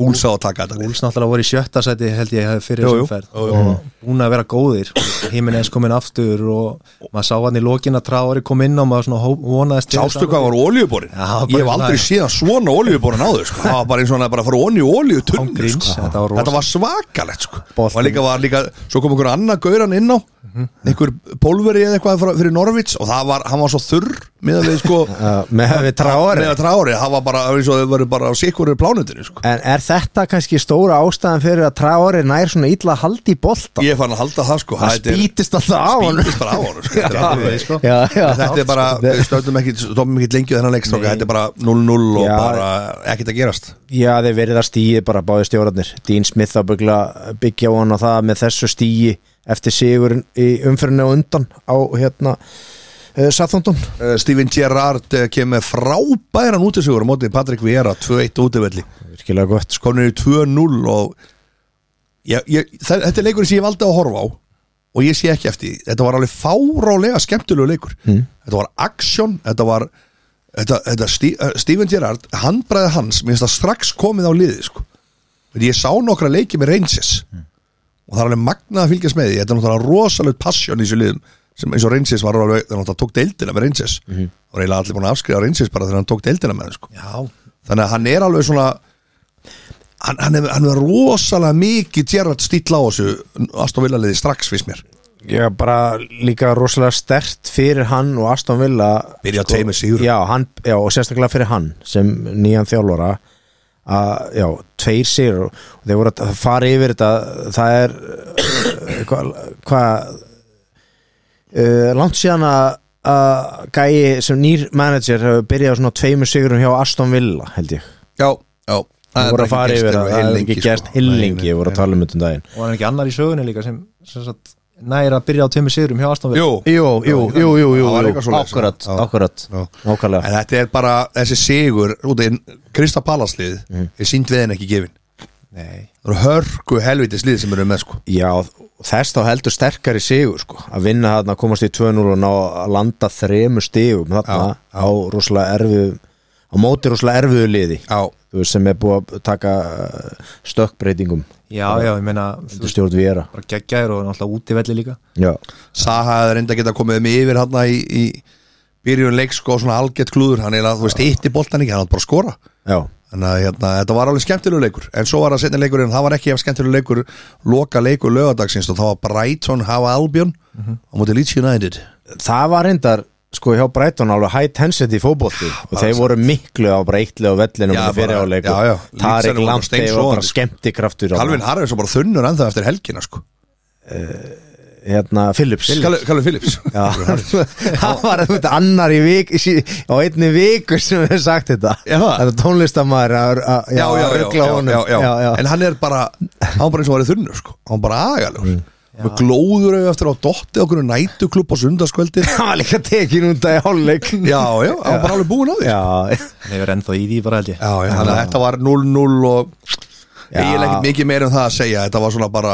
S2: Wolves á að taka þetta lið.
S1: Úls náttúrulega voru í sjötta sæti held ég hefði fyrir
S2: Jú, jú.
S1: þessum ferð og búin að vera góðir heiminn eins komin aftur og maður sá hann í lokin að tráari kom inn og maður svona hó- vonaðist til
S2: Sástu
S1: þess
S2: hvað var olíuborin?
S1: Já, bara
S2: Ég hef aldrei
S1: svona-
S2: síðan svona olíuborin áður sko. Það var bara eins og hann að bara fara onni í olíu
S1: Án gríns,
S2: sko.
S1: þetta var rosa-
S2: Þetta var svakalegt sko.
S3: Boltinn.
S2: Og líka var líka, svo kom einhver annar gauran inn á
S1: Mhm.
S2: einhver pólveri eða eitthvað frá- fyrir Norvits og það var, hann var svo þurr meðan við
S1: (laughs)
S2: sko
S3: Já, Með við tráari
S2: með að trári, það var bara eins og þau verið bara á sikkurir plánutinu sko.
S3: En er þetta kannski stóra ástæðan fyrir að Traore nær svona illa haldi í bolta?
S2: ég er farin að halda það sko
S3: það
S2: þetta er-
S3: spýtist alltaf á hann
S2: spýtist bara á hann (laughs) sko. Þetta er alveg-
S1: sko.
S3: já, já.
S2: þetta er bara, við stöndum ekki stöndum ekki lengi á þennan leikstróka, þetta er bara 0-0 og
S3: Já.
S2: bara ekkert að gerast
S3: já, þeir verið að stíði bara báði stjórarnir Dean Smith að byggla, byggja á hann og það með þessu stígi eftir sigurinn í umfyrinu og undan á hérna uh, Sathondon
S2: uh, Steven Gerrard uh, kemur frábæran útisugur á mótið Patrick Vieira 2-1 útivelli,
S3: virkilega gott sko
S2: konur í 2-0 og ég, ég, það, þetta er leikur sem ég valdi að horfa á og ég sé ekki eftir, því. þetta var alveg fárálega skemmtilegu leikur, þetta var action, þetta var þetta, þetta Stí, uh, Steven Gerrard, handbræði hans mér finnst það strax komið á liði sko. Þegar ég sá nokkra leiki með Rangers og það er alveg magnað að fylgjast með því þetta er náttúrulega rosalegt passion í þessu liðum sem eins og Rangers var alveg, það náttúrulega tók deildina með Rangers og reyla allir búin að afskrifa Rangers bara þegar hann tók deildina með hann sko.
S1: Já,
S2: þannig að hann er alveg svona hann, hann, er, hann er rosalega mikið Gerrard stíll á þessu Aston Villa liði strax fyrst mér
S3: Já, bara líka rosalega stert fyrir hann og Aston Villa sko.
S2: Byrja á tveimur sigrum.
S3: já, hann, já, og sérstaklega fyrir hann sem nýjan þjálfara að, já, tveir sigur og þeir voru að fara yfir þetta það er (coughs) eh, hvað hva, uh, langt síðan að að gæi sem nýr manager hefur byrjað á svona tveimur sigurum hjá Aston Villa held ég,
S2: já, já
S3: það voru að fara yfir að það hefur ekki
S2: sko.
S3: gerst hillingi, ég voru að tala um þetta um daginn
S1: og hann er ekki annar í sögunni líka sem, sem sagt, næra að byrja á tveimur sigurum hjá Aston Villa
S2: Jú,
S3: Jú, jú, jú, jú, jú,
S2: Það var
S3: jú.
S2: eitthvað svoleiðis,
S3: akkurat,
S2: já.
S3: akkurat,
S2: Já.
S3: nákvæmlega
S2: En þetta er bara, þessi sigur út af Krista Palaslið
S3: Mhm.
S2: er sínd við henn ekki gefin
S1: Nei,
S2: Það eru hörku helviti slið sem eru með sko
S3: Já, þess þá heldur sterkari sigur sko, að vinna þarna, komast í 2-0 og ná að landa þremur stigum þarna á rosalega erfiðu á móti rosalega erfiðu liði
S2: Já,
S3: þú veist, sem er búið að taka uh, stökkbreytingum,
S1: já, já, ég meina þú
S3: þetta
S1: veist,
S3: stjórn við era
S1: bara geggjaður og náttúrulega útivelli líka
S3: Já,
S2: Saha hefði reynda að geta komið með yfir hann í, í byrjun leik sko svona algjört klúður, hann er að, þú veist, hitti boltan ekki hann átt bara að skora
S3: já,
S2: Þannig að hérna, þetta var alveg skemmtilegu leikur En svo var það setni leikurinn, það var ekki ef skemmtilegu leikur Loka leikur lögadagsins og það var Brighton, Hava Albion á móti Leeds United
S3: það var reyndar sko hjá Brighton alveg high tensity fótbolti og þeir voru miklu á breytli og vellinu
S2: Já,
S3: og fyrir
S2: bara-
S3: áleiku
S2: já, já. Leeds er
S3: Tarik
S2: nú bara
S3: Lamptey og
S2: steinsofandi,
S3: bara
S2: sko.
S3: skemmtikraftur á-
S2: Calvin Harris var bara þunnur ennþá eftir helgina sko
S3: hérna Phillips
S2: Calvin Calvin Phillips (laughs)
S3: Já. (laughs) það var þetta annar í vik sí, á einni viku sem við sagt þetta
S2: Já.
S3: þetta tónlistamæður að, að,
S2: já, já,
S3: að
S2: já,
S3: ruggla
S2: já,
S3: honum
S2: já, já.
S3: Já, já.
S2: en hann er bara hann bara eins og hann er þunnur sko hann bara agalegur með glóður auðvitað eftir á dotti okkur nætuklub á sundarskvöldi (laughs) já,
S3: (laughs) hann var líka tekin út af hálfleik
S2: já, hann bara alveg búin á því já,
S3: já,
S1: Hann hefur ennþá í því bara held ég
S2: já, þannig að þetta var 0-0 og
S3: Já.
S2: ég er ekkert mikið meir um það að segja þetta var svona bara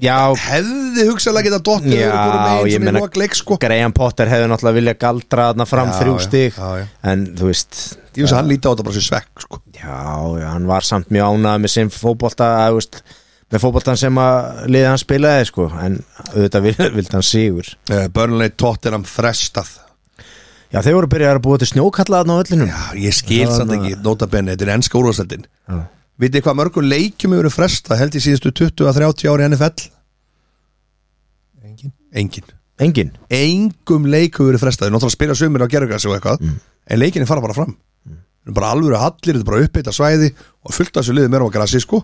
S3: já sko.
S2: hefði hugsaðlega geta dottið
S3: Já, ég meina-
S2: leik, sko.
S3: Graham Potter hefði náttúrulega viljað galdra þarna fram
S2: Já,
S3: þrjú
S2: já,
S3: stig
S2: já, já.
S3: en þú veist
S2: ég veist að hann líti á þetta bara sem svekk sko.
S3: já, já, hann var samt mjög ánað með sem fótbolta að, þú veist, með fótboltan sem að liðið hann spilaði sko, en auðvitað vil- vildi hann sigur
S2: Eh, Burnley tóttir hann frestað
S3: Já, þeir voru byrjað að búa til snjókallaðan á öllinum
S2: Já, ég skil
S3: Það var
S2: samt
S3: nú-
S2: ekki, nota bene, þetta er ennska úrvarsældin Vitið þið hvað mörgum leikjum hefur verið fresta held í síðustu 20 að 30 ári NFL?
S1: Engin.
S2: Engin
S3: Engin
S2: Engum leik hefur verið frestað, þeir náttúrulega spila sömur á gerðugas og eitthvað, en leikinni fara bara fram Þeir eru bara alvöru hallir, þetta er bara uppbytta svæði og fullt af þessu liðum er á grasi sko,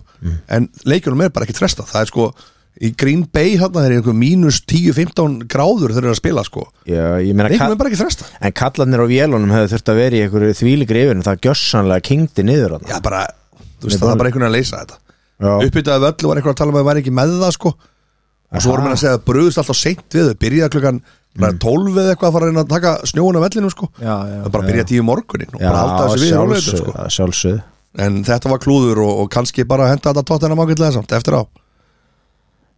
S2: en leikunum er bara ekki frestað það er sko, í Green Bay hann það er einhver mínus 10-15 gráður þeir eru að spila sko,
S3: Já, ég meina
S2: leikunum
S3: kall,
S2: er bara ekki frestað
S3: En kallarnir á vélunum hefðu þurft að vera í einhverju þvíligri yfir en það gjössanlega kingdi niður hann
S2: Já, bara, þú veist, það er bara einhvern veginn að leysa þetta
S3: Já.
S2: uppbyttaði völl var einhver að tala um að það væri ekki með það sko og svo vorum við að segja að brugðust alltaf seint við þau byrjaði klukkan mm. 12 eða eitthvað að fara að reyna að taka snjóun af vellinum sko
S1: Já, já,
S2: það bara byrjaði tíu morgunin og bara halda þessu við rólegðum,
S3: sjálfsög,
S2: sko.
S3: sjálfsög
S2: en þetta var klúður og, og kannski bara henda þetta tóttina mágætlega samt eftir á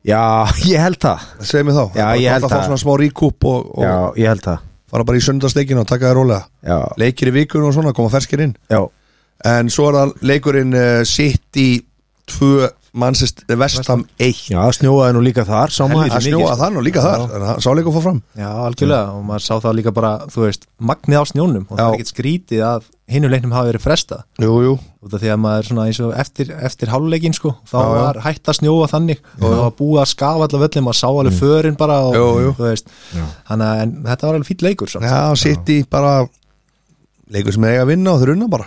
S3: Já, ég held það
S2: segið mér þá,
S3: Já,
S2: bara
S3: ég held
S2: gott að fá
S3: að-
S2: svona smá ríkúp og, og
S3: Já, ég held það
S2: fara bara í söndasteikina og taka það rólega
S3: Já,
S2: leikir í vikunum og svona, koma ferskir inn
S3: já,
S2: en svo er það leikurinn uh, sitt í tvö mannsist vestam eitt sko.
S3: já snjóaði nú líka þar sama
S2: að snjóa þann og líka þar en það- sá leikur fór fram
S1: Já, algjörlega og maður sá það líka bara, þú veist, magnið á snjónum og það
S2: Já.
S1: er ekkert skrítið að hinu leiknum hafi verið frestað
S2: jú, jú.
S1: út af því að maður svona eins og eftir, eftir háluleikin sko, þá
S2: Já, já.
S1: var hætt að snjóa þannig og það var búið að skafa allar völlum maður sá alveg förin bara og
S2: Mm. Jú, jú.
S1: þú veist, þannig að en þetta var alveg fýll leikur samt.
S2: Já, sitt í bara leikur sem eiga að vinna og þeir unna bara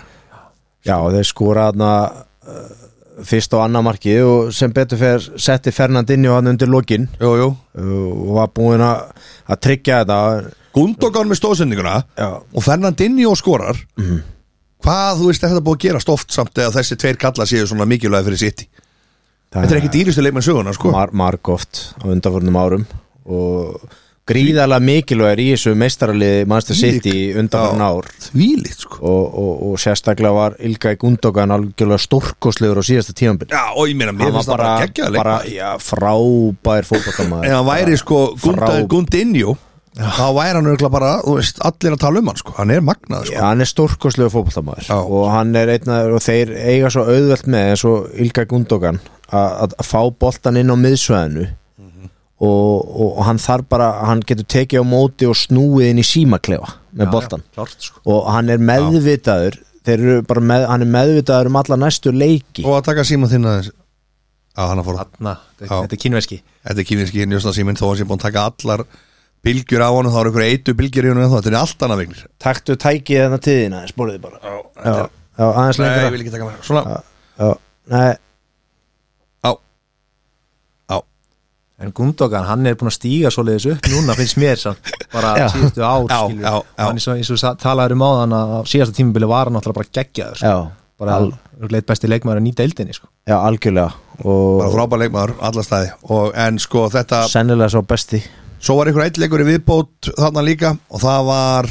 S3: Já, þeir skora þarna uh, fyrst á annar markið og sem betur fer setti Fernandinho hann undir lokin
S2: Jú, jú
S3: uh, og var búinn að að tryggja þetta
S2: Gundogan með stóðsendinguna
S3: Já,
S2: og Fernandinho skorar Hvað, þú veist, er þetta búið að gerast oft samt eða þessi tveir kalla séu svona mikilvæg fyrir sitt Þetta er ekki dýlustu leikmenn söguna, sko
S3: mar margóft á undanfórnum árum og gríðarlega mikilvægur í þessu meistaraliði Manchester
S2: Þvílík.
S3: City undanfórn
S2: Já.
S3: ár
S2: Þvílíkt, sko
S3: og, og, og sérstaklega var Ilgæk Gundogan algjörlega stórkoslegur á síðasta tímanbyrg
S2: Já, og ég meina, mér finnst það bara geggjaða leik
S3: bara já, frábær
S2: En
S3: fótballtamaður
S2: hann væri, sko,
S3: frá-
S2: Gunda- Gundinho Þá væri hann örgulega bara, þú veist, allir að tala um hann, sko Hann er magnað, sko
S3: hann er stórkoslegur fótballtamaður
S2: Já.
S3: og hann er einna og þeir eiga svo auðvelt með eins og Ilgæk Gundogan að að fá boltan inn á miðsvæðinu
S2: Mhm.
S3: og, og, og hann þarf bara hann getur tekið á móti og snúið inn í símaklefa með boltan
S1: Klart, sko.
S3: og hann er meðvitaður þeir eru bara með, hann er meðvitaður um alla næstu leiki
S2: Og að taka síma þinn aðeins Já, hann að fór að
S1: Þarna, þetta,
S2: Já.
S1: þetta er kínverski
S2: Þetta er kýminski njósnarsýminn þó að hann sé búin að taka allar bylgjur á hann og þá eru ykkur eitu bylgjur í hann þetta er allt annað vignir
S3: taktu tækið þennan tíðina spóriði bara já, já, aðeins
S2: Nei, ég
S3: lengra
S2: vil ekki taka mér Svona,
S3: já, nei,
S2: á, á
S1: en Gundogan, hann er búin að stíga svoleiðis upp núna finnst mér samt, bara
S3: Já.
S1: síðustu ár
S2: Já,
S1: skilur.
S2: já, já.
S1: hann er svo, eins og sa- talaður um áðan að á síðasta tímabili var hann náttúrulega bara geggjaður sko.
S3: já,
S1: bara
S3: al,
S1: leitt besti leikmaður að nýta eildinni sko.
S3: já, algjörlega
S2: bara
S3: og
S2: frábæð leikmaður, alla staði og, en sko þetta,
S3: sennilega svo besti
S2: svo var ykkur eitt leikur í viðbót þarna líka og það var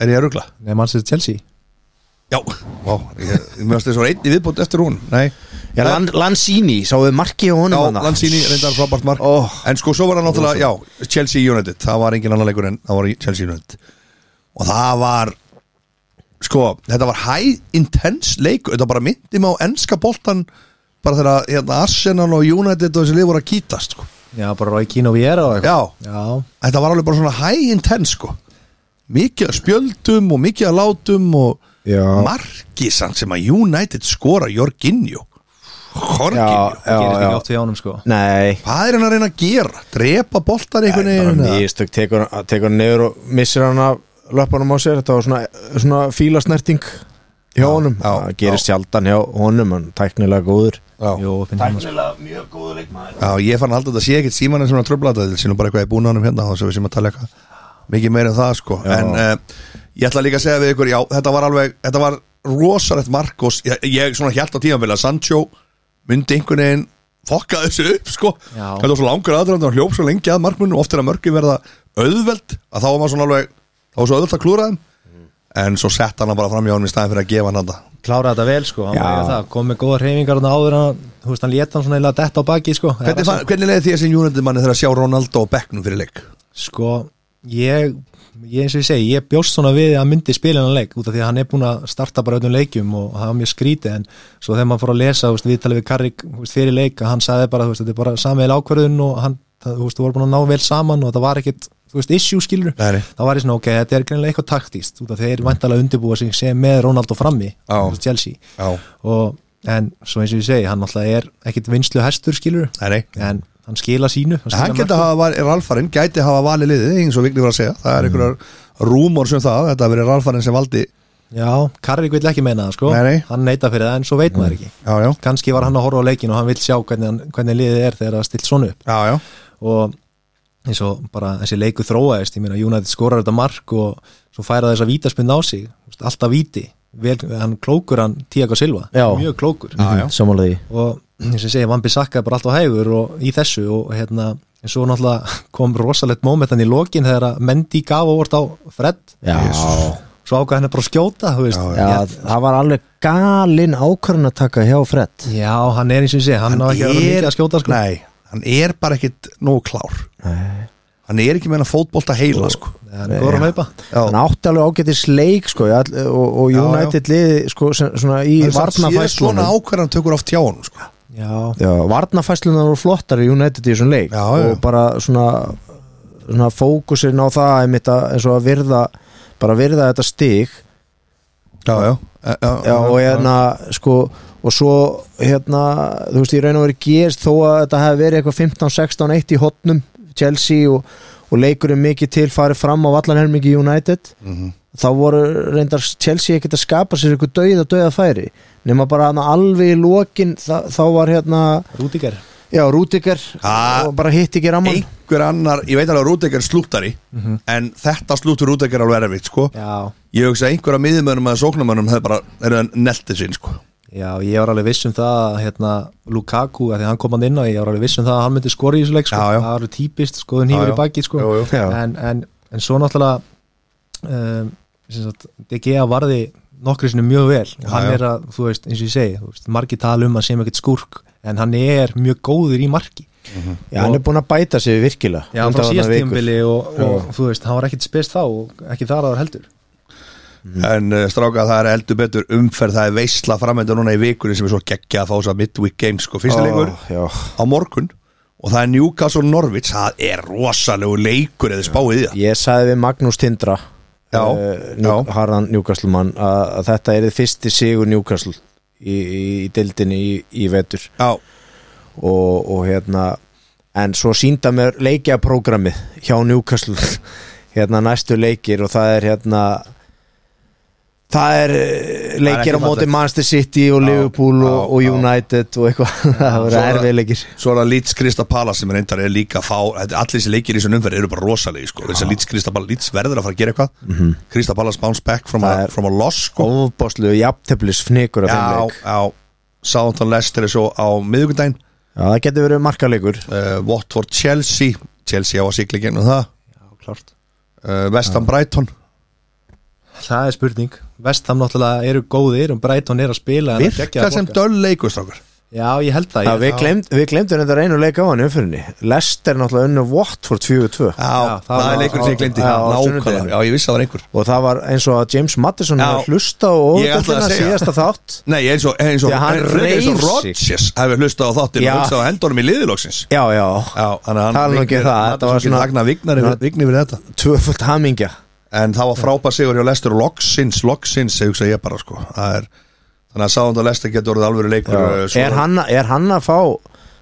S2: er ég að rugla?
S1: Nei, mannsið Chelsea
S2: Já, Vá, ég, ég mjögst þess að var einn í viðbót eftir hún Nei,
S3: já, Lan, Lanzini, sáuðu markið á
S2: já,
S3: honum þarna?
S2: Lanzini reyndar frábært mark
S3: Ó.
S2: en sko svo var það náttúrulega, já, Chelsea United það var engin annar leikur en það var í Chelsea United og það var sko, þetta var high intense leikur, þetta bara myndi mig á enska boltan bara þegar hérna, Arsenal og United og þessi lið voru að kýtast sko.
S1: Já, bara Rói Kín og Viera og eitthvað
S2: já,
S1: Já,
S2: þetta var alveg bara svona high intense sko mikið að spjöldum og mikið að látum og
S3: Já.
S2: markið samt sem að United skora Jorginho Horgir
S3: Já,
S1: gerist
S3: já.
S1: ekki oft við ánum sko
S3: Nei
S2: Hvað er hann að reyna að gera? Drepa boltar einhvern
S3: bara
S2: veginn eða?
S3: mistök, tekur, hann- tekur hann niður og missir hann af löpunum á sér, þetta var svona, svona fílasnerting hjá honum,
S2: já,
S3: það gerist sjaldan hjá honum, hann er tæknilega góður
S2: Já.
S1: Jó, finn hann sko
S2: Já, ég fann alltaf að það sé ekkert símanum sem hann tröflaði þetta sínum bara eitthvað í búnaðanum hérna þá sem við sem að tala eitthvað mikið meira en það sko
S3: Já.
S2: en uh, ég ætla líka að segja við ykkur já, þetta var alveg, þetta var rosalegt Marcos, ég, ég svona hjælt á tímanbili að Sancho myndi einhvern veginn fokka þessu upp sko
S1: Já.
S2: þetta var svo langur aðdrand og hljóf svo lengi að markmunum oft er að mörgum verða auðveld að þá var maður svona alveg, þá var svo auðveld að klúra þeim
S3: Mm.
S2: en svo sett hann bara fram í honum í staðin fyrir að gefa hann þetta
S1: klára þetta vel sko, hann
S3: Já.
S1: var að gera það, kom með góða hreyfingar þarna áður en hann, þú veist, hann létt hann svona eða detta á baki sko
S2: hvernig,
S1: Eða-
S2: fann- hvernig leiði því að sem United manni þegar að sjá Ronaldo á bekknum fyrir leik?
S1: sko, ég, ég eins og ég segi, ég bjóst svona við að myndi spila hann leik út af því að hann er búin að starta bara öllum leikjum og það var mjög skrítið en svo þegar maður fór að lesa, þú veist, við talið við Karrik þú veist, fyrir leik að hann sagði bara, þú veist, þetta er bara samveil ákvörðun og hann, það, þú veist, þú voru búin að ná vel saman og það var ekkit, þú veist, issue skilur
S2: Nei, nei.
S1: þá var ég svona, ok, þetta er greinilega eitthvað taktíst út af þeir vantalega undirbúa sig sem með Ronaldo frammi,
S2: Já.
S1: þú veist, Chelsea
S2: Já.
S1: og, en svo eins og ég segi, hann alltaf er ekkit vinslu hestur skilur
S2: Nei, nei.
S1: en hann skila sínu
S2: En hann
S1: skila
S2: geta
S1: mörkum.
S2: hafa valið, Ralfarinn gæti hafa valið liðið, eins og Vigni var að segja það
S1: Mm.
S2: er einhverjar rúmor sem það þetta verið Ralfarinn sem valdi já,
S1: Já, Karrik vill ekki meina það sko
S2: Nei, Mm. nei.
S1: Hann neita fyrir það en svo veit maður ekki
S2: já,
S1: Kanski var hann að horfa á leikin og hann vill sjá hvernig, hann, hvernig liðið er þegar það er stilt svona upp
S2: já, já.
S1: og eins og bara þessi leiku þróaðist ég meina United skorar þetta mark og svo færa þess að vítaspinn á sig Þú veist, alltaf víti, Vel, hann klókur hann Tiago Silva,
S3: Já.
S1: mjög klókur
S2: já.
S3: samanlega því
S1: og eins og ég segi, Vambi Sakka er bara alltaf hægur og í þessu og hérna en svo náttúrulega (laughs) kom rosalegt moment hann í lokin þegar að Mendy gaf óvart á Fred,
S3: Já,
S1: svo ákvað henni bara að skjóta þú veist,
S3: já
S1: Ég-
S3: það var alveg galinn ákvörðin að taka hjá Fred
S1: Já, hann er eins og ég sé, hann á ekki að vera mikið að skjóta sko.
S2: nei, hann er bara ekkit nógu klár
S3: Nei.
S2: hann er ekki með hann fótbolta heila sko.
S1: Nei, hann er góður að hlaupa
S3: hann átti alveg ágætis leik sko, í all- og, og
S2: Já,
S3: United liði sko, sem, svona í
S2: Hann sé svona
S3: varnafæslunum
S2: ákvarðan tökur oft hjá hann sko.
S1: Já,
S3: Já, varnafæslunar voru flottar í United í þessum leik
S2: Já, já.
S3: og bara svona, svona fókusinn á það einmitt að, eins og að virða bara virða þetta stig
S2: já, já, já,
S3: Já, og hérna sko og svo hérna þú veist ég raun og verið gerst þó að þetta hefði verið eitthvað 15, 16, 1 í hotnum Chelsea og, og leikurinn mikið til farið fram á vallanhermingi United
S2: Mhm.
S3: þá voru reyndar Chelsea ekkert að skapa sér eitthvað dauða dauða færi nema bara hana, alveg í lokin þá, þá var hérna
S1: Rúdíker
S3: Já, Rúdikar
S2: Ha?
S3: og bara hitt
S1: hérna-
S3: ekki ramman
S2: einhver annar, ég veit alveg að Rúdegger slúttari
S1: Mhm.
S2: en þetta slúttur Rúdegger alveg erfitt sko.
S1: Já,
S2: ég hugsa að einhverja miðumönnum eða sóknumönnum hefur bara, er neltið sín sko.
S1: já, ég var alveg viss um það að, hérna, Lukaku, að því að hann kom hann inn og ég var alveg viss um það að hann myndi skora í þessu leik sko.
S2: Já, já.
S1: það var típist, skoðun
S2: Já,
S1: hýfur
S2: já.
S1: í baki sko.
S2: Jú, jú.
S3: Já.
S1: en, en, en svo náttúrulega um, sem sagt, DG varði nokkri sinni mjög vel og hann
S2: já.
S1: er að, þú veist, eins og ég segi þú veist, margir tala um að sem ekkert skúrk en hann er mjög góður í marki
S3: Já, hann er búin að bæta sig virkilega
S1: Já, frá
S3: Mhm. undanfarnar
S1: síðast
S3: vikur.
S1: tímbili og, og þú veist, hann var ekkit spist þá og ekki þar aðar heldur
S2: En uh, stráka það er heldur betur umferð Það er veisla framönda núna í vikunni sem er svo geggja að fá þess að midweek games sko. Fyrsta
S3: Ó,
S2: leikur
S3: já.
S2: á morgun Og það er Newcastle Norwich Það er rosalegu leikur eða spáið í það
S3: Ég sagði við Magnús Tindra
S2: Já,
S3: eh, njú,
S2: já.
S3: Harðan Njúkastlumann að, að þetta er þið fyrsti sigur Njúkastl í, í, í dildinni í, í vetur
S2: Já,
S3: og, og hérna en svo sínda mér leikja prógramið hjá Newcastle (laughs) hérna næstu leikir og það er hérna það er eh, leikir á
S2: ekki
S3: móti
S2: fallegt.
S3: Manchester City og Liverpool
S2: já,
S3: og, og
S2: já.
S3: United og eitthvað (laughs) það
S2: Svo
S3: verður
S2: er-
S3: erfið leikir
S2: svo er það Leeds Krista Palace sem er reyndar er líka að fá þetta- Allir þessi leikir í þessum umferð eru bara rosalegi sko. Þessi Leeds Krista Palace, Leeds verður að fara að gera eitthvað mm -hmm. Krista Palace bounce back from,
S3: Það
S2: a,
S3: er-
S2: from a loss sko.
S3: ofbáslu jafnteflis fnikur af þeim
S2: Já,
S3: leik
S2: já Southampton Leicester er svo á miðvikudaginn
S3: já, það getur verið markalegur
S2: uh, Watford Chelsea Chelsea á að sigla genn og það
S1: Já, klart
S2: uh, Vestan Brighton
S1: Það er spurning, vestam náttúrulega eru góðir og Brighton er að spila en að
S2: virka
S1: geggjaða
S2: sem
S1: flokka.
S2: döl leikustrákur
S1: Já, ég held það,
S3: Já,
S1: ég,
S3: við, glemd, við glemdum þetta reynu leika á hann umfyrinni Lester náttúrulega unnu Watford 4-2
S2: Já, það,
S1: það var-
S2: er leikur sem ég gleymdi
S3: Já, á
S2: Nákvæmlega,
S3: sunnudegi.
S2: já ég vissi að það var einhver
S3: og það var eins og að James Madison
S2: Já.
S3: hefði hlusta og
S2: Ég ætlaði að
S3: óvitaðina
S2: segja.
S3: síðasta þátt
S2: Nei, eins og, eins og,
S3: Því að hann
S2: eins og, eins og
S3: reif sig.
S2: Rodgers hefur hlustað á þáttinn
S3: Já.
S2: og hlustað á hendunum í liðilóksins
S3: Já, já,
S2: Já, þannig að
S3: Tala nú ekki um það, þetta var svona-
S2: Agnar Vignar yfir, Vigni við þetta
S3: tvöfult hamingja
S2: En það var frábær sigur hjá Lestur Loksins, Loksins, ég hugsa ég bara sko Það er, þannig að sáðan og lesta getur orðið alvöru leikur eh, svo-
S3: er, hann, að- er hann að fá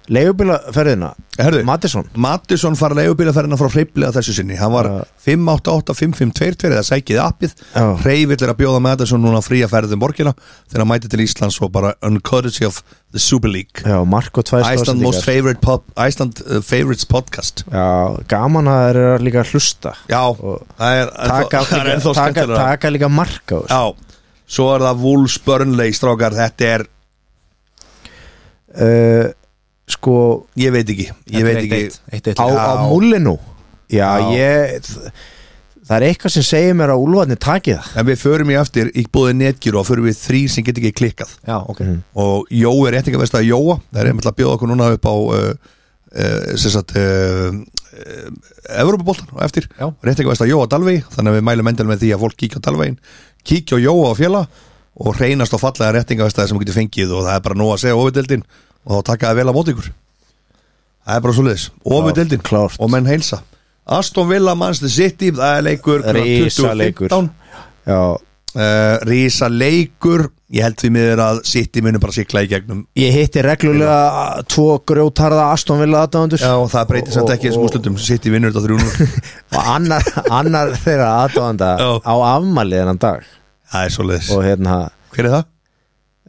S3: leigubílaferðina
S2: Herðu,
S3: Mattisson
S2: Mattisson fara leigubílaferðina frá hreiflega þessu sinni hann var
S3: Já.
S2: 588-5522 eða sækið appið
S3: Já.
S2: hreifillir að bjóða Mattisson núna fría ferðum borgina þegar hann mæti til Íslands og bara uncourtesy of the Super League
S3: Já, Marko tvæst
S2: Iceland most favorite pop, Iceland uh, favorites podcast
S3: Já, gaman að þeir eru líka að hlusta
S2: já,
S3: Og
S2: það er ennþá-
S3: taka,
S2: (laughs) það er
S3: líka,
S2: ennþá
S3: taka,
S2: skemmtilega.
S3: taka líka marka uh,
S2: Já, svo er það Wolves Burnley strákar, þetta er,
S3: Sko
S2: ég veit ekki ég veit ekki,
S1: eitt, eitt,
S3: á,
S1: eitt,
S3: á
S2: Já.
S3: múlinu Já,
S2: Já.
S3: ég þ- Það er eitthvað sem segir mér að úlfarnir taki það
S2: en við förum í eftir í búið netgjur og förum við þrý sem get ekki klikkað
S1: já, ok
S2: og Jó er rétt ekki að veist að Jóa það er einmitt að bjóða okkur núna upp á uh, uh, sem sagt uh, uh, Evropaboltan og eftir
S1: Já.
S2: rétt ekki að veist að Jóa Dalvegi, þannig að við mælum endal með því að fólk kíkja á Dalvegin, kíkja á Jóa á fjöla og reynast á fallega réttinga veist að sem þú getur fengið og það er bara nóg að segja ofudeldin og þá taka það vel á móti ykkur það er bara svo leiðis, ofudeldin
S3: Klárt
S2: og menn heilsa Aston Villa, Manchester City, það er leikur
S3: Risa leikur
S2: uh,
S3: Já,
S2: Rísa leikur Uh, ég held því miður að City munum bara sikla í gegnum
S3: Ég hitti reglulega tvo grjótarða Aston Villa aðdáðandur
S2: já, og það breytir samt ekki þessum úrslutum City vinnur þetta þrjúnum
S3: og annar, annar þeirra aðdáðanda
S2: Já.
S3: á afmælið hennan dag
S2: það er svo leiðis,
S3: og hérna,
S2: hver er það?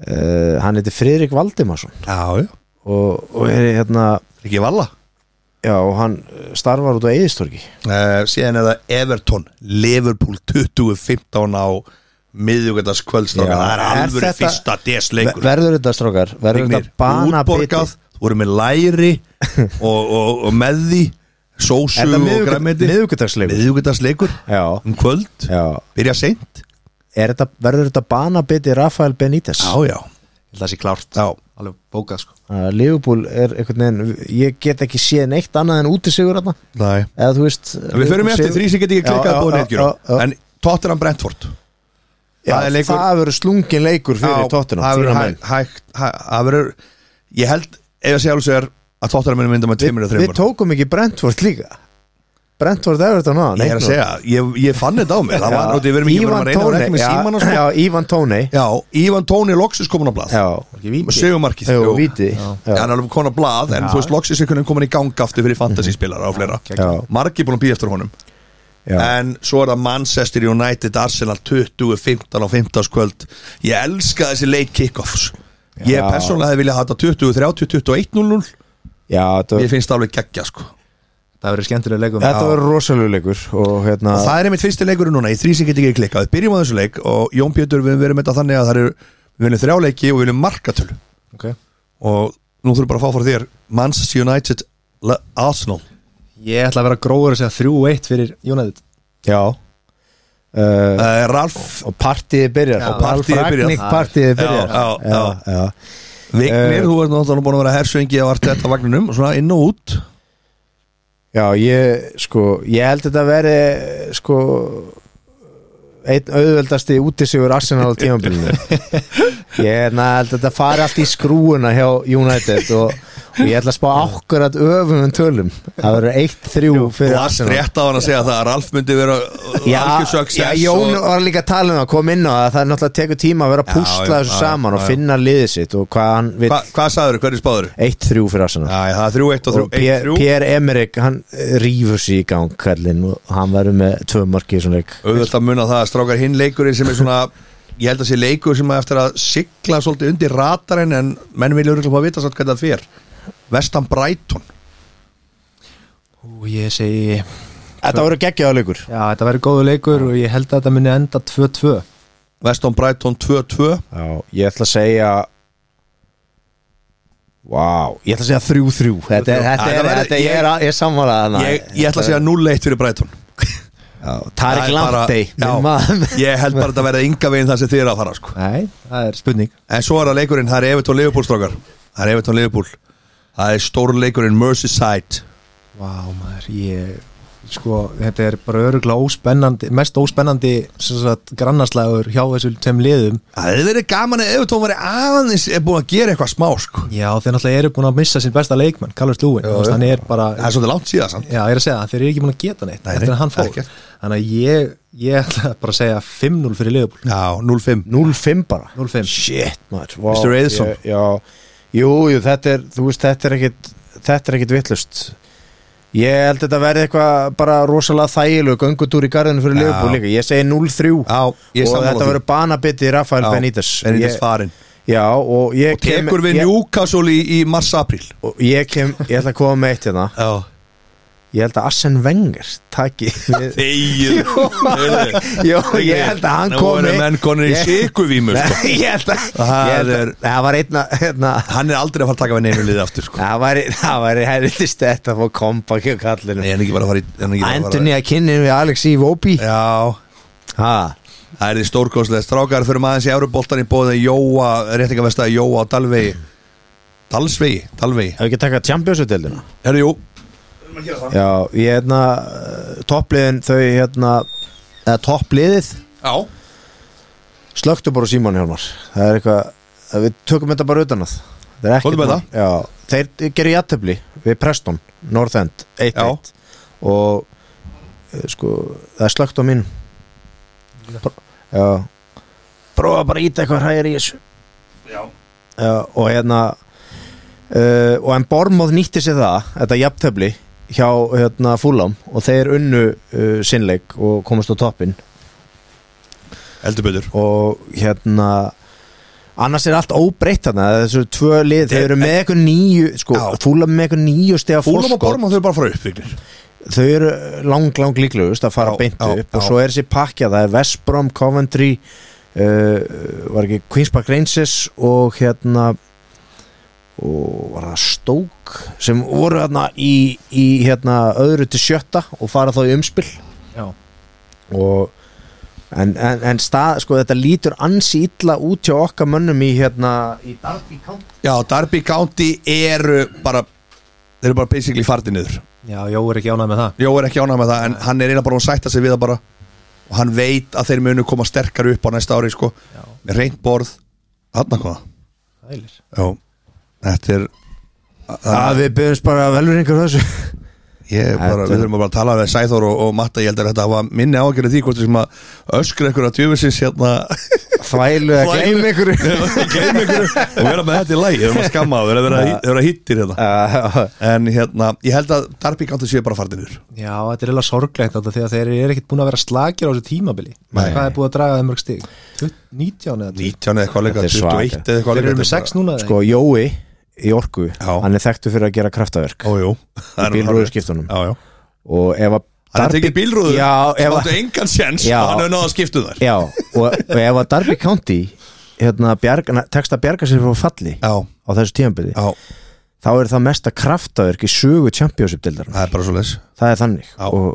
S3: uh, hann heiti Friðrik Valdimarsson
S2: já, já,
S3: og, og er hérna
S2: ekki valla
S3: já, og hann eh, starfar út á Eðistorgi
S2: uh, síðan er það Everton Liverpool 2015 á miðjúkvæðas kvöldstokkan
S3: Já.
S2: það er
S3: Er
S2: alvöru
S3: þetta-
S2: fyrsta DS leikur
S3: verður þetta strókar, verður
S2: Vignir,
S3: þetta bana
S2: útborgað, þú voru með læri og, og, og með því sósu
S3: er
S2: og
S3: þetta
S2: græmiti
S3: miðugudagsleikur
S2: miðvíkudagsleikur
S3: já,
S2: um kvöld,
S3: já
S2: byrja seint
S3: Er þetta, verður þetta banabiti Rafael Benítez
S2: já,
S1: Ég held að það sé klárt,
S2: já
S1: alveg bókað sko
S3: uh, Liverpool er einhvern veginn ég get ekki séð neitt annað en út í sigur þarna
S2: Nei.
S3: eða þú veist
S2: Við förum í eftir þrý sem getur ekki klikkað búin eitthvað
S3: en
S2: En Tottenham Brentford það er
S3: já,
S2: leikur-
S3: það verður slungin leikur
S2: Já, Það
S3: fyrir
S2: verður hæ-
S3: tóttunum
S2: hægt hæ- Það verður, ég held ef að sé alveg sér að Tottenham er mynda með tveimur og
S3: við
S2: þreimur
S3: tókum ekki Brentford líka Brentford Everton á
S2: Ég er að segja, ég, ég fann þetta á mig Það var náttúrulega, við erum ekki verið að reyna að reyna með síman og
S3: já,
S2: svo
S3: Ívan Tónei
S2: Já, Ívan Tóni Loksis komin á blað
S3: Já,
S2: Segumarkið
S3: Jú, víti
S2: Já. hann er alveg konar blað en þú veist loksins einhvern veginn komin í gang aftur fyrir fantasyspilara og fleira
S1: Já.
S2: margir búin að býja eftir honum
S3: Já.
S2: en svo er það Manchester United Arsenal 2015 á 15 kvöld ég elska þessi late kickoffs ég
S3: Já.
S2: persónulega hefði viljað hata 20, 30, 21, 00
S3: Já, þetta
S2: ég finnst það alveg geggja sko
S1: Það verður skemmtilega leikum
S3: þetta var rosalegu leikur og hérna
S2: og það er einmitt fyrsti leikurinn núna í þrý sem getur ekki klikkað við byrjum á þessu leik og Jón Pétur við verum þetta þannig að það eru við viljum þrjáleiki og við viljum markatölu
S1: Ok.
S2: og nú þurfum bara að fá frá þér Manchester United Le- Arsenal
S1: Ég ætla að vera gróður að segja 3-1 fyrir United
S3: Já uh,
S2: uh, Ralf
S3: Og partíði byrjar
S1: Já.
S3: Og Ralf
S2: Partíið byrjar.
S3: Ragnik partíði byrjar
S2: Já, já, já.
S3: já.
S2: Vignir,
S3: Eh,
S2: þú ert náttúrulega búin að vera hersöngi á Arteta vagninum, svona inn og út
S3: Já, ég sko, ég held þetta að veri sko einn auðveldasti útisigur Arsenal á
S2: (laughs)
S3: tímabilinu ég na, held að þetta fari allt í skrúuna hjá United og, og ég ætla að spá akkurat öfum tölum það verður 1-3 fyrir
S2: Last
S3: Arsenal
S2: rétt á hann að segja það að Ralf myndi vera uh,
S3: Já,
S2: algjör
S3: já,
S2: success
S3: Jón
S2: og-
S3: var líka að tala um að koma inn á það það er náttúrulega að tekur tíma að vera að
S2: Já,
S3: púsla
S2: já,
S3: þessu
S2: já,
S3: saman
S2: já,
S3: og
S2: já.
S3: finna liðið sitt og hvað hann vil
S2: Hva, Hvað sagður, hverju spáður?
S3: 1-3 fyrir Arsenal
S2: Já, það er 3-1 og
S3: og Pierre,
S2: 3-1
S3: Pierre Emmerich hann eh, rífur sig í gang kallinn og hann verður með tvö marki í svona leik
S2: Auðvitað mun að það að strákar hinn leikurinn sem er svona Ég held að sé leikur sem að eftir að sigla svolítið undir ratarinn en menn vilja örugglega fá að vita svolítið hvað það fer Vestan Brighton
S1: Og ég segi, já,
S3: Þetta voru geggjaða leikur
S1: þetta verður góður leikur og ég held að þetta muni enda 2-2
S2: Vestan Brighton 2-2
S3: Já, ég ætla að segja Vá, ég ætla að segja 3-3 Þetta er, þetta
S2: Þetta
S3: er,
S2: verður-
S3: þetta er, ég er, að- ég er samvalað
S2: ég, ég ætla að segja 0-1 fyrir Brighton
S3: Tarik Lamptey
S2: Já,
S3: minn maður. (laughs)
S2: Ég held bara að þetta verða ynga veginn það sem þið er að fara sko
S1: Nei, það er spurning
S2: En svo er það leikurinn, það er Evertón Liverpool strákar Það er Evertón Liverpool Það er stór leikurinn Merseyside
S1: Vá maður, ég, sko, þetta er bara öruglega óspennandi, mest óspennandi sem sagt, grannarslagur hjá þessum tveim liðum
S2: Það hefði verið gaman ef Evertón væri aðeins er búin að gera eitthvað smá sko.
S1: Já, þeir náttúrulega eru búin að missa sín besta leikmann Callum Lúin,
S2: Já,
S1: hann er bara
S2: Það er svolítið langt síðan samt.
S1: Já, ég er að segja það, þeir eru ekki búin að geta neitt
S2: Nei,
S1: eftir
S2: nei,
S1: að hann fór
S2: ekkert.
S1: Þannig að ég, ég ætla bara að segja 5-0 fyrir Leopold
S2: Já, 0-5
S3: 0-5 bara
S1: 0-5
S3: Shit, maður Vá,
S2: Mr. Eiðsson.
S3: ég- Já, jú, jú, þetta er þú veist, þetta er ekkit þetta er ekkit vittlust Ég held þetta verði eitthvað bara rosalega þægilegu göngutúr í garðinu fyrir
S2: Já.
S3: Leopold líka Ég segi
S2: Já,
S3: 0-3
S2: ég er
S3: og
S2: sammála
S3: þetta
S2: því.
S3: verður banabiti Rafael
S2: Já,
S3: Benítez
S2: Benítez
S3: Ég-
S2: farinn.
S3: Já, og ég
S2: Og tekur við
S3: ég,
S2: Newcastle í, í mars-april
S3: og ég kem, ég ætla að koma með eitt hérna
S2: Já
S3: Ég held að Assen Wenger
S2: (laughs)
S3: taki við-
S2: Þegið
S3: Jó, ég held að hann komi
S2: Nú er menn konur í
S3: Ég-
S2: sikuvímu
S3: Nei, (laughs)
S2: sko.
S3: Ég held að
S2: Það
S3: ég held að-
S2: er-
S3: Það var einna hérna,
S2: Hann er aldrei að fara að taka við neinu liði aftur sko.
S3: Það var, (laughs) það var helvitist þetta að fá kompa ekki á kallinu
S2: Nei, hann er ekki bara að fara í hann er ekki bara að fara-
S3: Anthony að kynnin við Alex í Vóbi
S2: Já
S3: Þetta
S2: Það er því stórkostlega strákar fyrir maður í Euroboltan í bóðið Jóa, réttingavesta Jóa á Dalvegi Dalsvegi, Dalvegi
S3: Hefur ekki takað Champions-utildina?
S2: Herru, jú
S3: Já, ég hérna eh, toppliðin þau hérna eða toppliðið
S2: Já
S3: slöktu bara síman hjálmar það er eitthvað að við tökum þetta bara utan að það er
S2: Tökum
S3: ekkert mál. já, þeir gerðu játtöfli við Preston, North End 1-1 og eh, sko, það er slökt á mín já prófa bara að íta eitthvað hægir í þessu já og hérna uh, og en Bormóð nýtti sér það þetta jafntöfli hjá hérna Fúlam og þeir unnu uh, sinnleik og komast á toppin
S2: Eldur betur
S3: og hérna annars er allt óbreytt þarna þessu tvö lið, þeir eru með eitthvað nýju sko,
S2: Já.
S3: fúla með eitthvað nýju stega
S2: Fúlum og
S3: fórskot
S2: Bormann þau eru bara að fara upp vignir
S3: þau eru lang, lang líklegust að fara
S2: Já,
S3: beint
S2: já,
S3: upp og
S2: já.
S3: svo er þessi pakkja, það er West Brom, Coventry uh, var ekki Queen's Park Rangers og hérna og var það Stoke sem voru hérna í, í hérna öðru til sjötta og fara þá í umspil
S1: Já,
S3: og en, en, en stað, sko, þetta lítur ansi illa út hjá okkar mönnum í hérna í Darby County
S2: Já, Darby County eru bara Þeir eru bara basically fardi niður
S1: já, Jó er ekki ánægð með það
S2: Jó er ekki ánægð með það en hann er eiginlega bara að sætta sig við það bara og hann veit að þeir munu koma sterkar upp á næsta ári sko
S1: Já,
S2: með reynd borð Hanna koma
S1: hælir
S2: Já, þetta er
S3: að við byrjumst bara velveringar þessu
S2: Ég er bara,
S3: Þetta-
S2: við þurfum að bara að tala við Sæþór og, og Matta, ég held að þetta var minni ágjörði því hvort sem að öskra ykkur að djöfisins hérna (laughs)
S3: þvælu að
S2: Þvælu.
S3: gleyma ykkur (laughs)
S2: gleym ykkur um- og vera með þetta í lægi, við erum að skamma og við erum að, vera hittir hérna
S3: Já,
S2: en hérna, ég held að Darby County séu bara farðinur
S1: Já, þetta er eiginlega sorglegt þetta þegar þeir eru ekkert búin að vera slagir á þessu tímabili
S2: Nei.
S1: Hvað er búið að draga þeim mörg stig? 19 eða 20?
S2: 19 eða eitthvað leika,
S3: Þetta er
S2: 21
S3: svaka.
S2: eða eitthvað
S1: Þeir
S2: leika
S1: eru með 6 núna
S3: sko Jói í Orku
S2: Já.
S3: hann er þekktu fyrir að gera kraftaverk
S2: Ójú, það er
S3: bílrúðuskiptunum
S2: Já, já
S3: og ef að
S2: Hann er tekið bílrúður,
S3: Já, ef
S2: hann
S3: að-
S2: áttu engan séns
S3: Já.
S2: og hann hefur náða að um skiptu þar
S3: já, og, og ef að Darby County hérna, bjarg, tekst að bjarga sér frá falli
S2: Já,
S3: á þessu tíðanbyrði
S2: já,
S3: þá er það mesta kraftaverk í sögu championship-dildar
S2: það er bara svo leis
S3: það er þannig
S2: Já.
S3: og,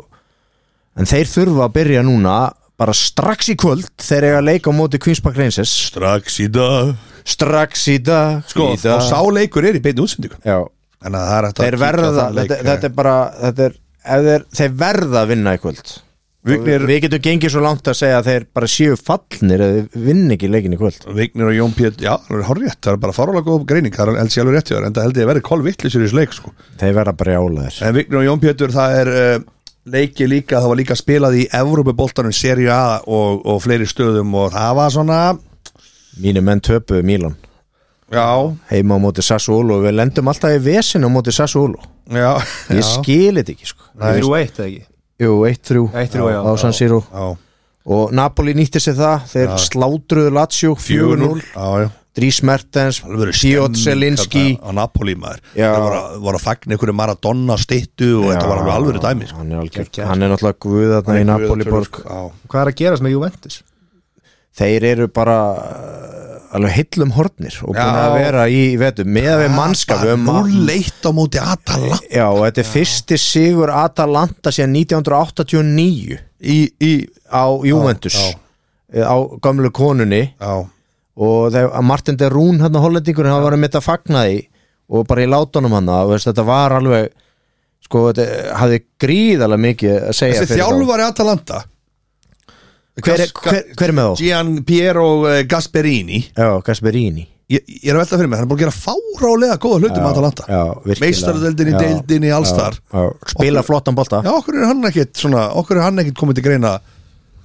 S3: en þeir þurfa að byrja núna bara strax í kvöld þeir eiga að leika á móti Queen's Park Rangers
S2: Strax í dag
S3: strax í dag
S2: Sko,
S3: í
S2: og
S3: dag.
S2: sá leikur er í beinni útsendingu
S3: Já,
S2: Þannig að það er hægt að
S3: þeir
S2: kíkja á
S3: verða
S2: þann leik. eh.
S3: þetta, þetta er bara þetta er, ef þeir, þeir verða að vinna í kvöld
S2: Vignir,
S3: Og við getum gengið svo langt að segja að þeir bara séu fallnir eða vinna ekki leikin í kvöld
S2: Vignir og Jón Pétur, já, það er horrétt það er bara farulega góð greining, það er held sér alveg rétt hjá þér, en það held ég að verði kolvittlisur í þessu leik sko.
S3: þeir verða bara jálaðir
S2: en Vignir og Jón Pétur, það er uh, leiki líka, það var líka spilað í Evrópuboltanum seri A og, og fleiri stöðum og það var svona
S3: mínu menn töpuðu Mílan
S2: já,
S3: heima á móti Sassuolo og við lendum alltaf í vesinu á móti Sassuolo
S2: já,
S3: ég
S2: já,
S3: skil þetta ekki sko
S1: Það er 1 eða ekki
S3: Jú, 1-3
S1: 1-3, já.
S3: á San Siro
S2: já
S3: og Napoli nýtti sér það þeir slátruðu Lazio 4-0
S2: já, já
S3: Dries Mertens,
S2: Það verður
S3: Piot
S2: stemming
S3: Selinski
S2: þarna á hérna, Napoli maður
S3: Já.
S2: það voru, að- voru að fagna einhverju Maradona styttu og þetta var alveg alveg dæmi sko.
S3: hann er, algjör,
S1: Geggjað.
S3: hann er náttúrulega guðarna í Napoli borg
S2: Já.
S1: Hvað er að gerast með Juventus?
S3: þeir eru bara uh, alveg hillum hornir og búin
S2: Já.
S3: að vera í vetu með að við mannskap við
S2: Bara
S3: höfum-
S2: 0-1 á móti Atala
S3: já, og þetta er fyrsti sigur Atalanta síðan 1989
S2: í, í,
S3: á Juventus
S2: Já,
S3: eh, á gamlu konunni
S2: já
S3: og þegar að Martin de Rún hérna hollendingur hann var að mitt að fagna því og bara í látunum hann veist, þetta var alveg sko, sko, þetta hafði gríðalega mikið að segja
S2: Þessi
S3: fyrir þá.
S2: þjálfari Atalanta
S3: hver, er- hver, hver er með þá?
S2: Gian Piero eh, Gasperini
S3: Já, Gasperini
S2: ég, ég er að velta fyrir mig, hann er búin að gera fárálega góða hluti með um Atalanta,
S3: já, virkilega.
S2: meistaradeildinni,
S3: Já,
S2: deildinni, alls
S3: já,
S2: þar.
S3: já, Spila flottan bolta
S2: já, okkur er hann ekkit svona, okkur er hann ekkit komið til greina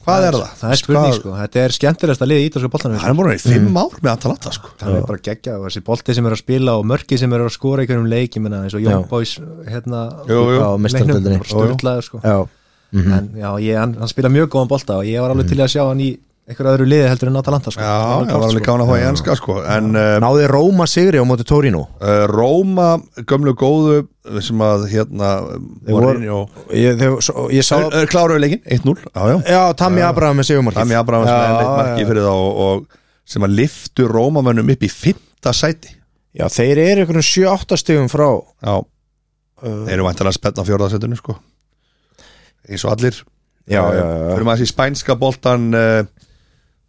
S2: hvað er það?
S1: Það er spurning
S2: Hvað-
S1: sko, þetta er skemmtilegast að liða í ítalska boltanum
S2: hann er búin að vera í fimm ár með Atalanta sko
S1: Það er bara geggja og þessi bolti sem er að spila og mörki sem er að skora í hverjum leik, ég menna eins og Young
S3: Já.
S1: Boys hérna,
S2: Jú, jú.
S1: á
S3: Á meistaradeildinni.
S1: leiknum, bara sturlaður sko
S3: Já,
S1: en já, ég, hann, hann spila mjög góðan bolta og ég var alveg til að sjá hann í einhverju öðru liði heldur en Atalanta sko
S2: já, það var alveg gána hvað ég enska sko en uh,
S3: náði Róma sigri á móti Torino
S2: uh, Róma, gömlu góðu sem að hérna Mourinho
S3: Ég, þeir, svo, ég sá
S2: Þeir- þeir Eh, kláruðu leikin, 1-0 já, já.
S3: Já, Tami Abraham með sigumarkið
S2: Tami Abraham sem er leitt marki fyrir þá og, og sem að liftu Rómamönnum upp í fymta sæti
S3: Já, þeir eru einhvern 7-8 stigum frá
S2: já,
S3: Eh.
S2: þeir eru væntanlega að spenna fjórðarsætinu sko eins og allir Eh,
S3: Já, já, já, já.
S2: fyrir maður þessi spænska boltan uh,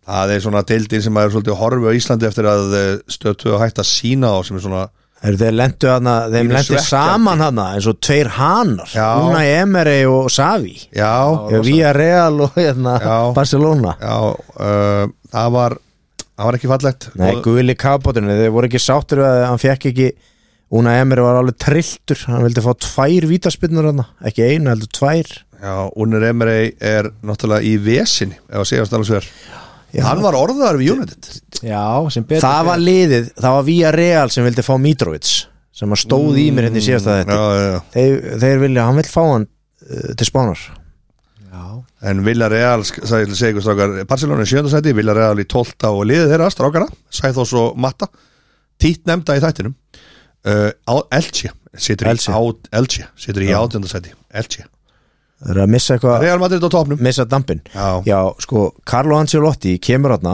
S2: það er svona deildin sem maður er svolítið að horfa á Íslandi eftir að eh, stöðtu að hætta sína á sem er svona
S3: Eru þeir lendu hana, þeim
S2: Pínu
S3: lendu
S2: svekkjandi.
S3: saman hana eins og tveir hanar
S2: Já.
S3: Una Emery og Savi
S2: já,
S3: Via Real og hérna,
S2: Já.
S3: Barcelona
S2: já uh, það var það var ekki fallegt
S3: Nei,
S2: Og-
S3: Guli Kapotinu, þeir voru ekki sáttir við að hann fekk ekki Una Emery var alveg trilltur, hann vildi fá tvær vítaspinnur hana, ekki einu, heldur tvær
S2: já, Unir Emery er náttúrulega í vesinni ef að segja alveg sver
S3: Já.
S2: hann var orðaðar við United
S1: Já, sem betur
S3: Það var liðið, það var Via Real sem vildi fá Mitrovic sem að stóð í mér hérna í síðasta þetta
S2: Mm, já, já, já.
S3: þeir, þeir vilja, hann vil fá hann uh, til spánar
S1: já,
S2: en Villarreal sk- sagði ég til að segja ykkur strákar Barcelona í sjöndasæti, Villarreal í 12 og liðið þeirra strákara, Sæþós og Matta títt nefnda í þættinum uh, á- Elche situr
S3: Elche.
S2: í, á, Elche, situr í átjöndasæti Elche,
S3: þeir eru að missa eitthvað,
S2: Real Madrid á topnum
S3: missa dampin
S2: Já.
S3: já, sko, Carlo Ancelotti kemur hana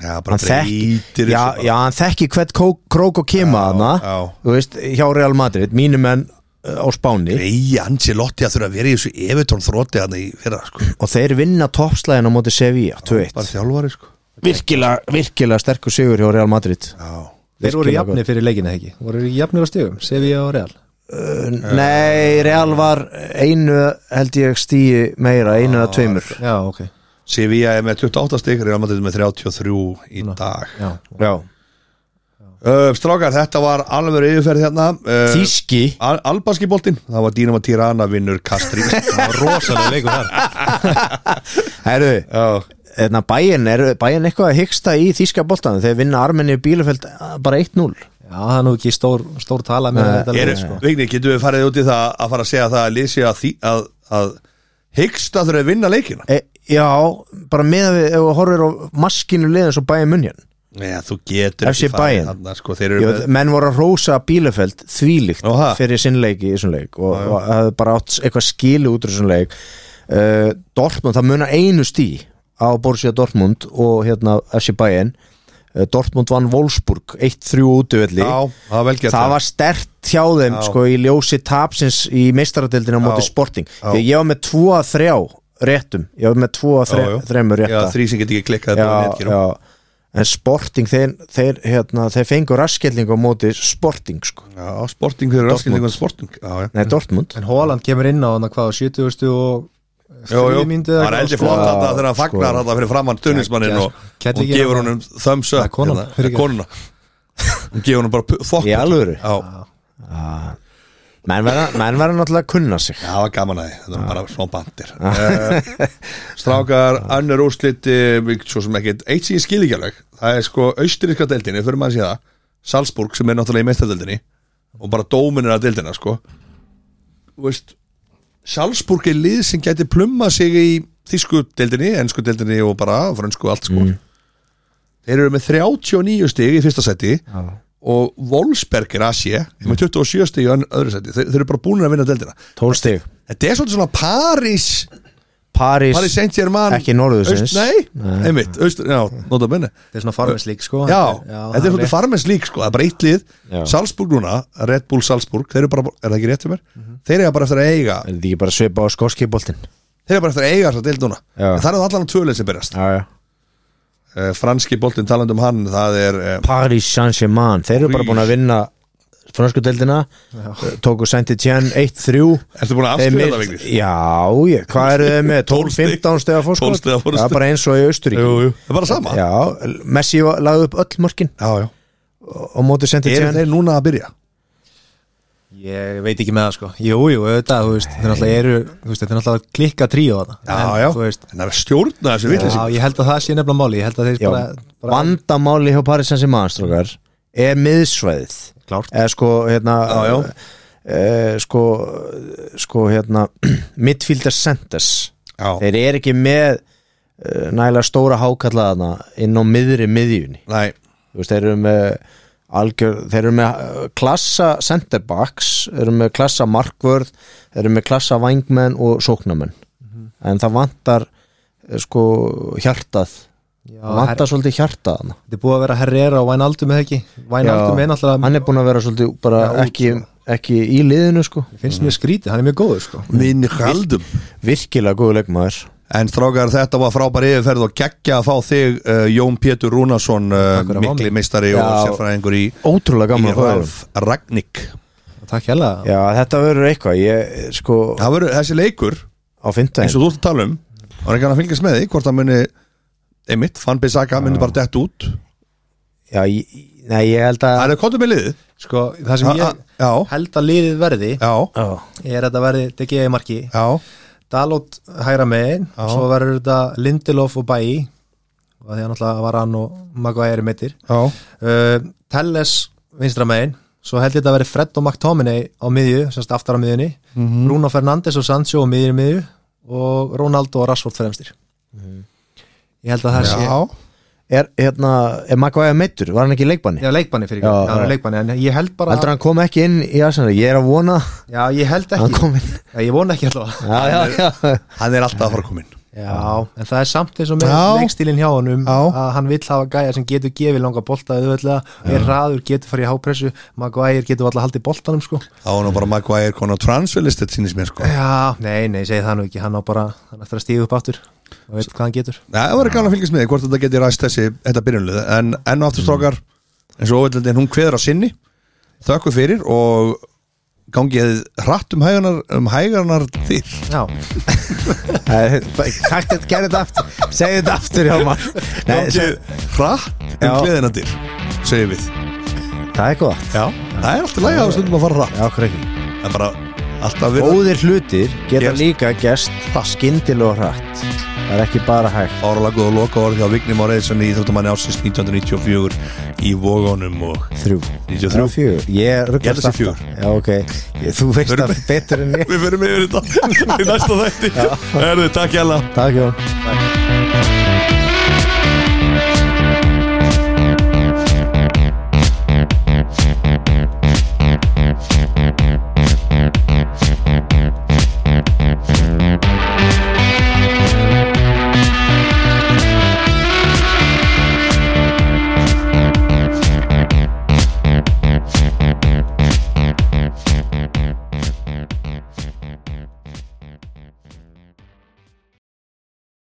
S2: já, bara
S3: hann þekki,
S2: breytir
S3: já, já, hann þekki hvert kó- krók og kema hana
S2: já.
S3: þú veist, hjá Real Madrid, mínu menn uh, á Spáni
S2: Reyja Ancelotti að þurfa að vera í þessu Evertón þrótti hann í fyrra sko.
S3: og þeir vinna toppslæðin á móti Sevilla,
S2: bara
S3: 2-1
S2: þjálfari sko.
S3: virkilega, virkilega sterkur sigur hjá Real Madrid
S2: já.
S1: Þeir voru
S3: Virkilega
S1: jafni fyrir leikina ekki Voru jafnir á stigum, Sevilla og Real
S3: Uh, nei, Real var einu held ég stíi meira, einu að tveimur
S1: Já, ok
S2: Sevilla er með 28 stík Real Madrid með 33 í dag
S1: Já,
S3: já,
S2: uh, Strákar, þetta var alveg yfirferð hérna uh,
S3: Þíski
S2: Al Albanski boltinn, það var Dínama Tirana vinnur Kastri (laughs) Það var rosalega leikur þar
S3: herru,
S2: Já,
S3: Þannig að bæin er bæin eitthvað að hyggsta í þýska boltanum þegar vinna Armeni og Bílefeld bara 1-0
S1: já það er nú ekki stór, stór tala með
S3: Nei,
S1: þetta
S2: er,
S1: lið, sko.
S2: Vigni, getum við farið út í það að fara að segja það að lýsi að, því- að, að hyggsta þurfa að vinna leikina
S3: e, Já, bara með að við ef við horfir á maskinu liðin svo bæin munjan
S2: Nei, þú getur
S3: FC
S2: farið
S3: Bayern.
S2: þarna, sko, þeir eru
S3: Ég
S2: með,
S3: veit, menn voru að rósa Bílefeld þvílíkt
S2: Nú, ha?
S3: fyrir sinnleiki í þessum leik og og hafði bara átt eitthvað skilu út úr þessum leik uh, Dortmund, það munar einu stí á Borussia Dortmund og hérna FC Bayern uh, Dortmund vann Wolfsburg 1-3 útöfelli
S2: Já, það var vel gert
S3: það var stert hjá þeim sko, í ljósi tapsins í meistaradeildinu á móti
S2: Já.
S3: sporting því að ég var með tvo að þrjá réttum ég var með tvo að þre,
S2: Já, já.
S3: þremur
S2: Já,
S3: rétta
S2: þrý sem getur ekki klikkað
S3: já,
S2: þetta á netgírum.
S3: já. en sporting þeir, þeir, hérna, þeir fengur raskelling á móti sporting sko.
S2: Já, sporting, þeir eru raskildingar sporting Já, já
S3: nei Dortmund
S1: En Holland kemur inn á hann hvað, á 70 og
S2: Jú, jú,
S1: þriðju mínútu
S2: það
S1: eða
S2: er
S1: eitthvað,
S2: eldi
S1: sko.
S2: flott
S3: Já,
S2: þetta þegar hann fagnar
S3: sko.
S2: þetta fyrir framann tunnismannin
S1: Geggja,
S2: og
S1: sko.
S2: og
S1: Kellingin
S2: gefur
S1: var-
S2: honum thumbs
S1: Það
S2: up
S1: er konan,
S2: hérna,
S1: fyrirgefðu.
S2: konuna og gefur honum bara fokk
S3: Í alvöru?
S2: Já,
S3: menn verða menn verða náttúrulega að kunna sig
S2: Já, það var gaman að því, þetta var bara svona bandir uh, Strákar, önnur úrslit eh, svo sem ekkit, eitt sem ég skil ekki alveg það er sko austuríska deildinni, fyrir maður að sé það Salzburg sem er náttúrulega í mestadeldinni og bara dóminir að deildina sko Þú veist Salzburg er lið sem gæti plumma sig í þísku deildinni, ennsku deildinni og bara frönsku allt sko Þeir eru með 39 stig í fyrsta seti og Wolfsberg er að sé með 27 stig í ön- öðru seti þeir, þeir eru bara búinir að vinna deildina
S3: tólstig
S2: Þetta er svolítið svona París
S3: París,
S2: París Saint-Germain
S3: Ekki norðursins.
S2: Nei, einmitt Öst, Já, nota benni
S1: Þetta er svona farmislík sko
S2: Já,
S1: það
S2: þetta er svolítið
S1: rétt.
S2: farmens lík sko Það er bara eitt lið
S3: Já.
S2: Salzburg núna, Red Bull Salzburg Þeir eru bara, er það ekki rétt hjá mér? Þeir eru bara eftir að eiga
S3: er þetta ekki bara svipa á skorskiboltin
S2: Þeir eru bara eftir að eiga þess að núna
S3: Já.
S2: En það eru allan tvöleið sem byrjast
S3: já, já.
S2: uh, Franski boltinn talandi um hann Það er uh,
S3: París Saint-Germain, þeir eru bara
S2: París.
S3: búin að vinna fransku deildina tóku sendi tjenn 1-3
S2: Ertu búin að
S3: Þeim
S2: afskrifa
S3: er-
S2: það vegni?
S3: Já, ég, hvað eru þau
S2: (laughs)
S3: með? 12-15
S2: 12
S3: stegar fórskot?
S2: stiga
S3: Það
S2: forskot.
S3: er bara eins og í Austuríki
S2: Jú, jú, það er bara sama
S3: Já, Messi var- lagði upp öll mörkin
S2: já, já.
S3: og móti sendið
S2: Eru
S3: tján
S2: þeir núna að byrja?
S1: Ég veit ekki með það sko Jú, jú, auðvitað, þú veist, þeir náttúrulega eru þú veist, Þeir náttúrulega klikka tríu þarna
S2: Já,
S1: En,
S2: já,
S1: þú veist,
S2: en það er að stjórna þessu
S1: Já,
S2: villið
S1: ég held að það sé nefnilega máli Ég held að þeir
S3: Já,
S1: bara, bara
S3: vandamáli hjá Paris Saint-Germain er miðsvæðið
S1: Klárt.
S3: eða sko hérna
S2: Já, já.
S3: eh, sko, sko hérna (clears throat) midfielder centers
S2: Já,
S3: þeir eru ekki með eh, nægilega stóra hákallaðana inn á miðri miðjunni
S2: næ,
S3: Þú veist, þeir eru með algjör, þeir eru með eh, klassa centerbacks, þeir eru með klassa markvörð, þeir eru með klassa vangmenn og sóknamenn en það vantar eh, sko hjartað,
S1: Já,
S3: það
S1: her,
S3: vantar svolítið hjartað hana.
S1: Þetta er búið að vera Herrera og Wijnaldum eða ekki Wijnaldum er náttúrulega,
S3: hann er búin að vera svolítið bara
S1: Já, út,
S3: ekki, ekki í liðinu sko
S1: finnst mér skrítið, hann er mjög góður sko
S2: minni haldum
S3: virkilega góðu leikmaður
S2: En strákar þetta var frábær yfirferð og geggja að fá þig uh, Jón Pétur Rúnarsson uh,
S1: Takk fyrir að fá
S2: mikli
S1: mig.
S2: meistari og
S3: Já.
S2: sérfræðingur í,
S3: ótrúlega
S2: í
S3: gaman að fá þér.
S2: Ralf Ragnik
S1: Takk hella
S3: já þetta verður eitthvað ég sko
S2: Það verður þessi leikur
S3: á fymtæðin
S2: eins og þú ert að tala um og er ekki hann að fylgjast með því hvort það muni einmitt, Fann Bissaka muni bara dett út
S3: já, ég, nei ég held að
S2: Það er kontum með liðið
S1: Sko, það sem
S2: Já,
S1: ég
S2: já,
S1: held að liðið verði
S2: já,
S3: já,
S1: er að þetta verði DGI marki
S2: já
S1: Dalot hægra megin
S2: Já.
S1: svo verður þetta Lindelof og Bæi og því að náttúrulega var hann og Maguire meittir
S2: Já,
S1: uh, Telles vinstra megin svo held ég þetta að verði Fred og McTominay á miðju, semst aftar á miðjunni
S3: Mhm.
S1: Bruno Fernandes og Sancho á miðjunni miðju og Ronaldo og Rashford fremstir
S3: Mhm.
S1: ég held að það sé
S2: já.
S3: er hérna er Maguire meittur, var hann ekki í leikbanni
S1: Já, leikbanni fyrir
S3: Já,
S1: ekki, já, hann er
S3: já.
S1: leikbanni en ég held bara,
S3: heldur hann kom ekki inn í Arsenal ég er að vona
S1: já, ég held
S3: að hann
S1: ekki
S3: kom inn
S1: já, ég vona ekki allavega
S3: já, já, já.
S2: Hann er alltaf að fara að koma inn
S1: Já, en það er samt eins og með
S2: Já.
S1: leikstílinn hjá honum
S2: Já.
S1: að hann vill hafa gæja sem getur gefið langa bolta auðvöldlega, er hraður, getur farið í hápressu Maguire getur alltaf haldið boltanum sko
S2: Þá er nú bara Maguire konar transferlistet sínist mér sko
S1: Já, nei, nei, segi það nú ekki hann á bara, hann eftir að stíða upp áttur og veit hvað hann getur
S2: Nei, það verður gaman að fylgjast með því hvort þetta geti ræst þessi þetta byrjunlið, en enn og aftur strókar eins og óvillendin hún kveður á sinni þökku fyrir og gangið hratt um hægarnar um hægarnar þýr
S1: Já,
S3: Eh, takk þetta, gerði þetta aftur segði þetta aftur hjá maður Nei,
S2: gangið hratt um
S3: Já.
S2: gleðina þýr segir við
S3: það er gott
S2: Já. það er alltaf læg að stundum að fara hratt
S3: já, okkur ekki
S2: það er bara alltaf við
S3: góðir hlutir geta
S2: Gerst.
S3: líka gerst skyndilega og hratt það er ekki bara hægt
S2: áralag og loka orð hjá Vigni Máreðsson í Íþróttamanni ásins 1994 í Vógonum og
S3: þrjú
S2: 93.
S3: fjögur ég
S2: Ég held að
S3: ruggast
S2: sé
S3: aftur
S2: fjögur.
S3: já ok Ég- þú veist
S2: Förum
S3: það betur en ég
S2: (laughs) við fyrir með yfir þetta í næsta þætti Herðu, takk hjá
S3: takk Jón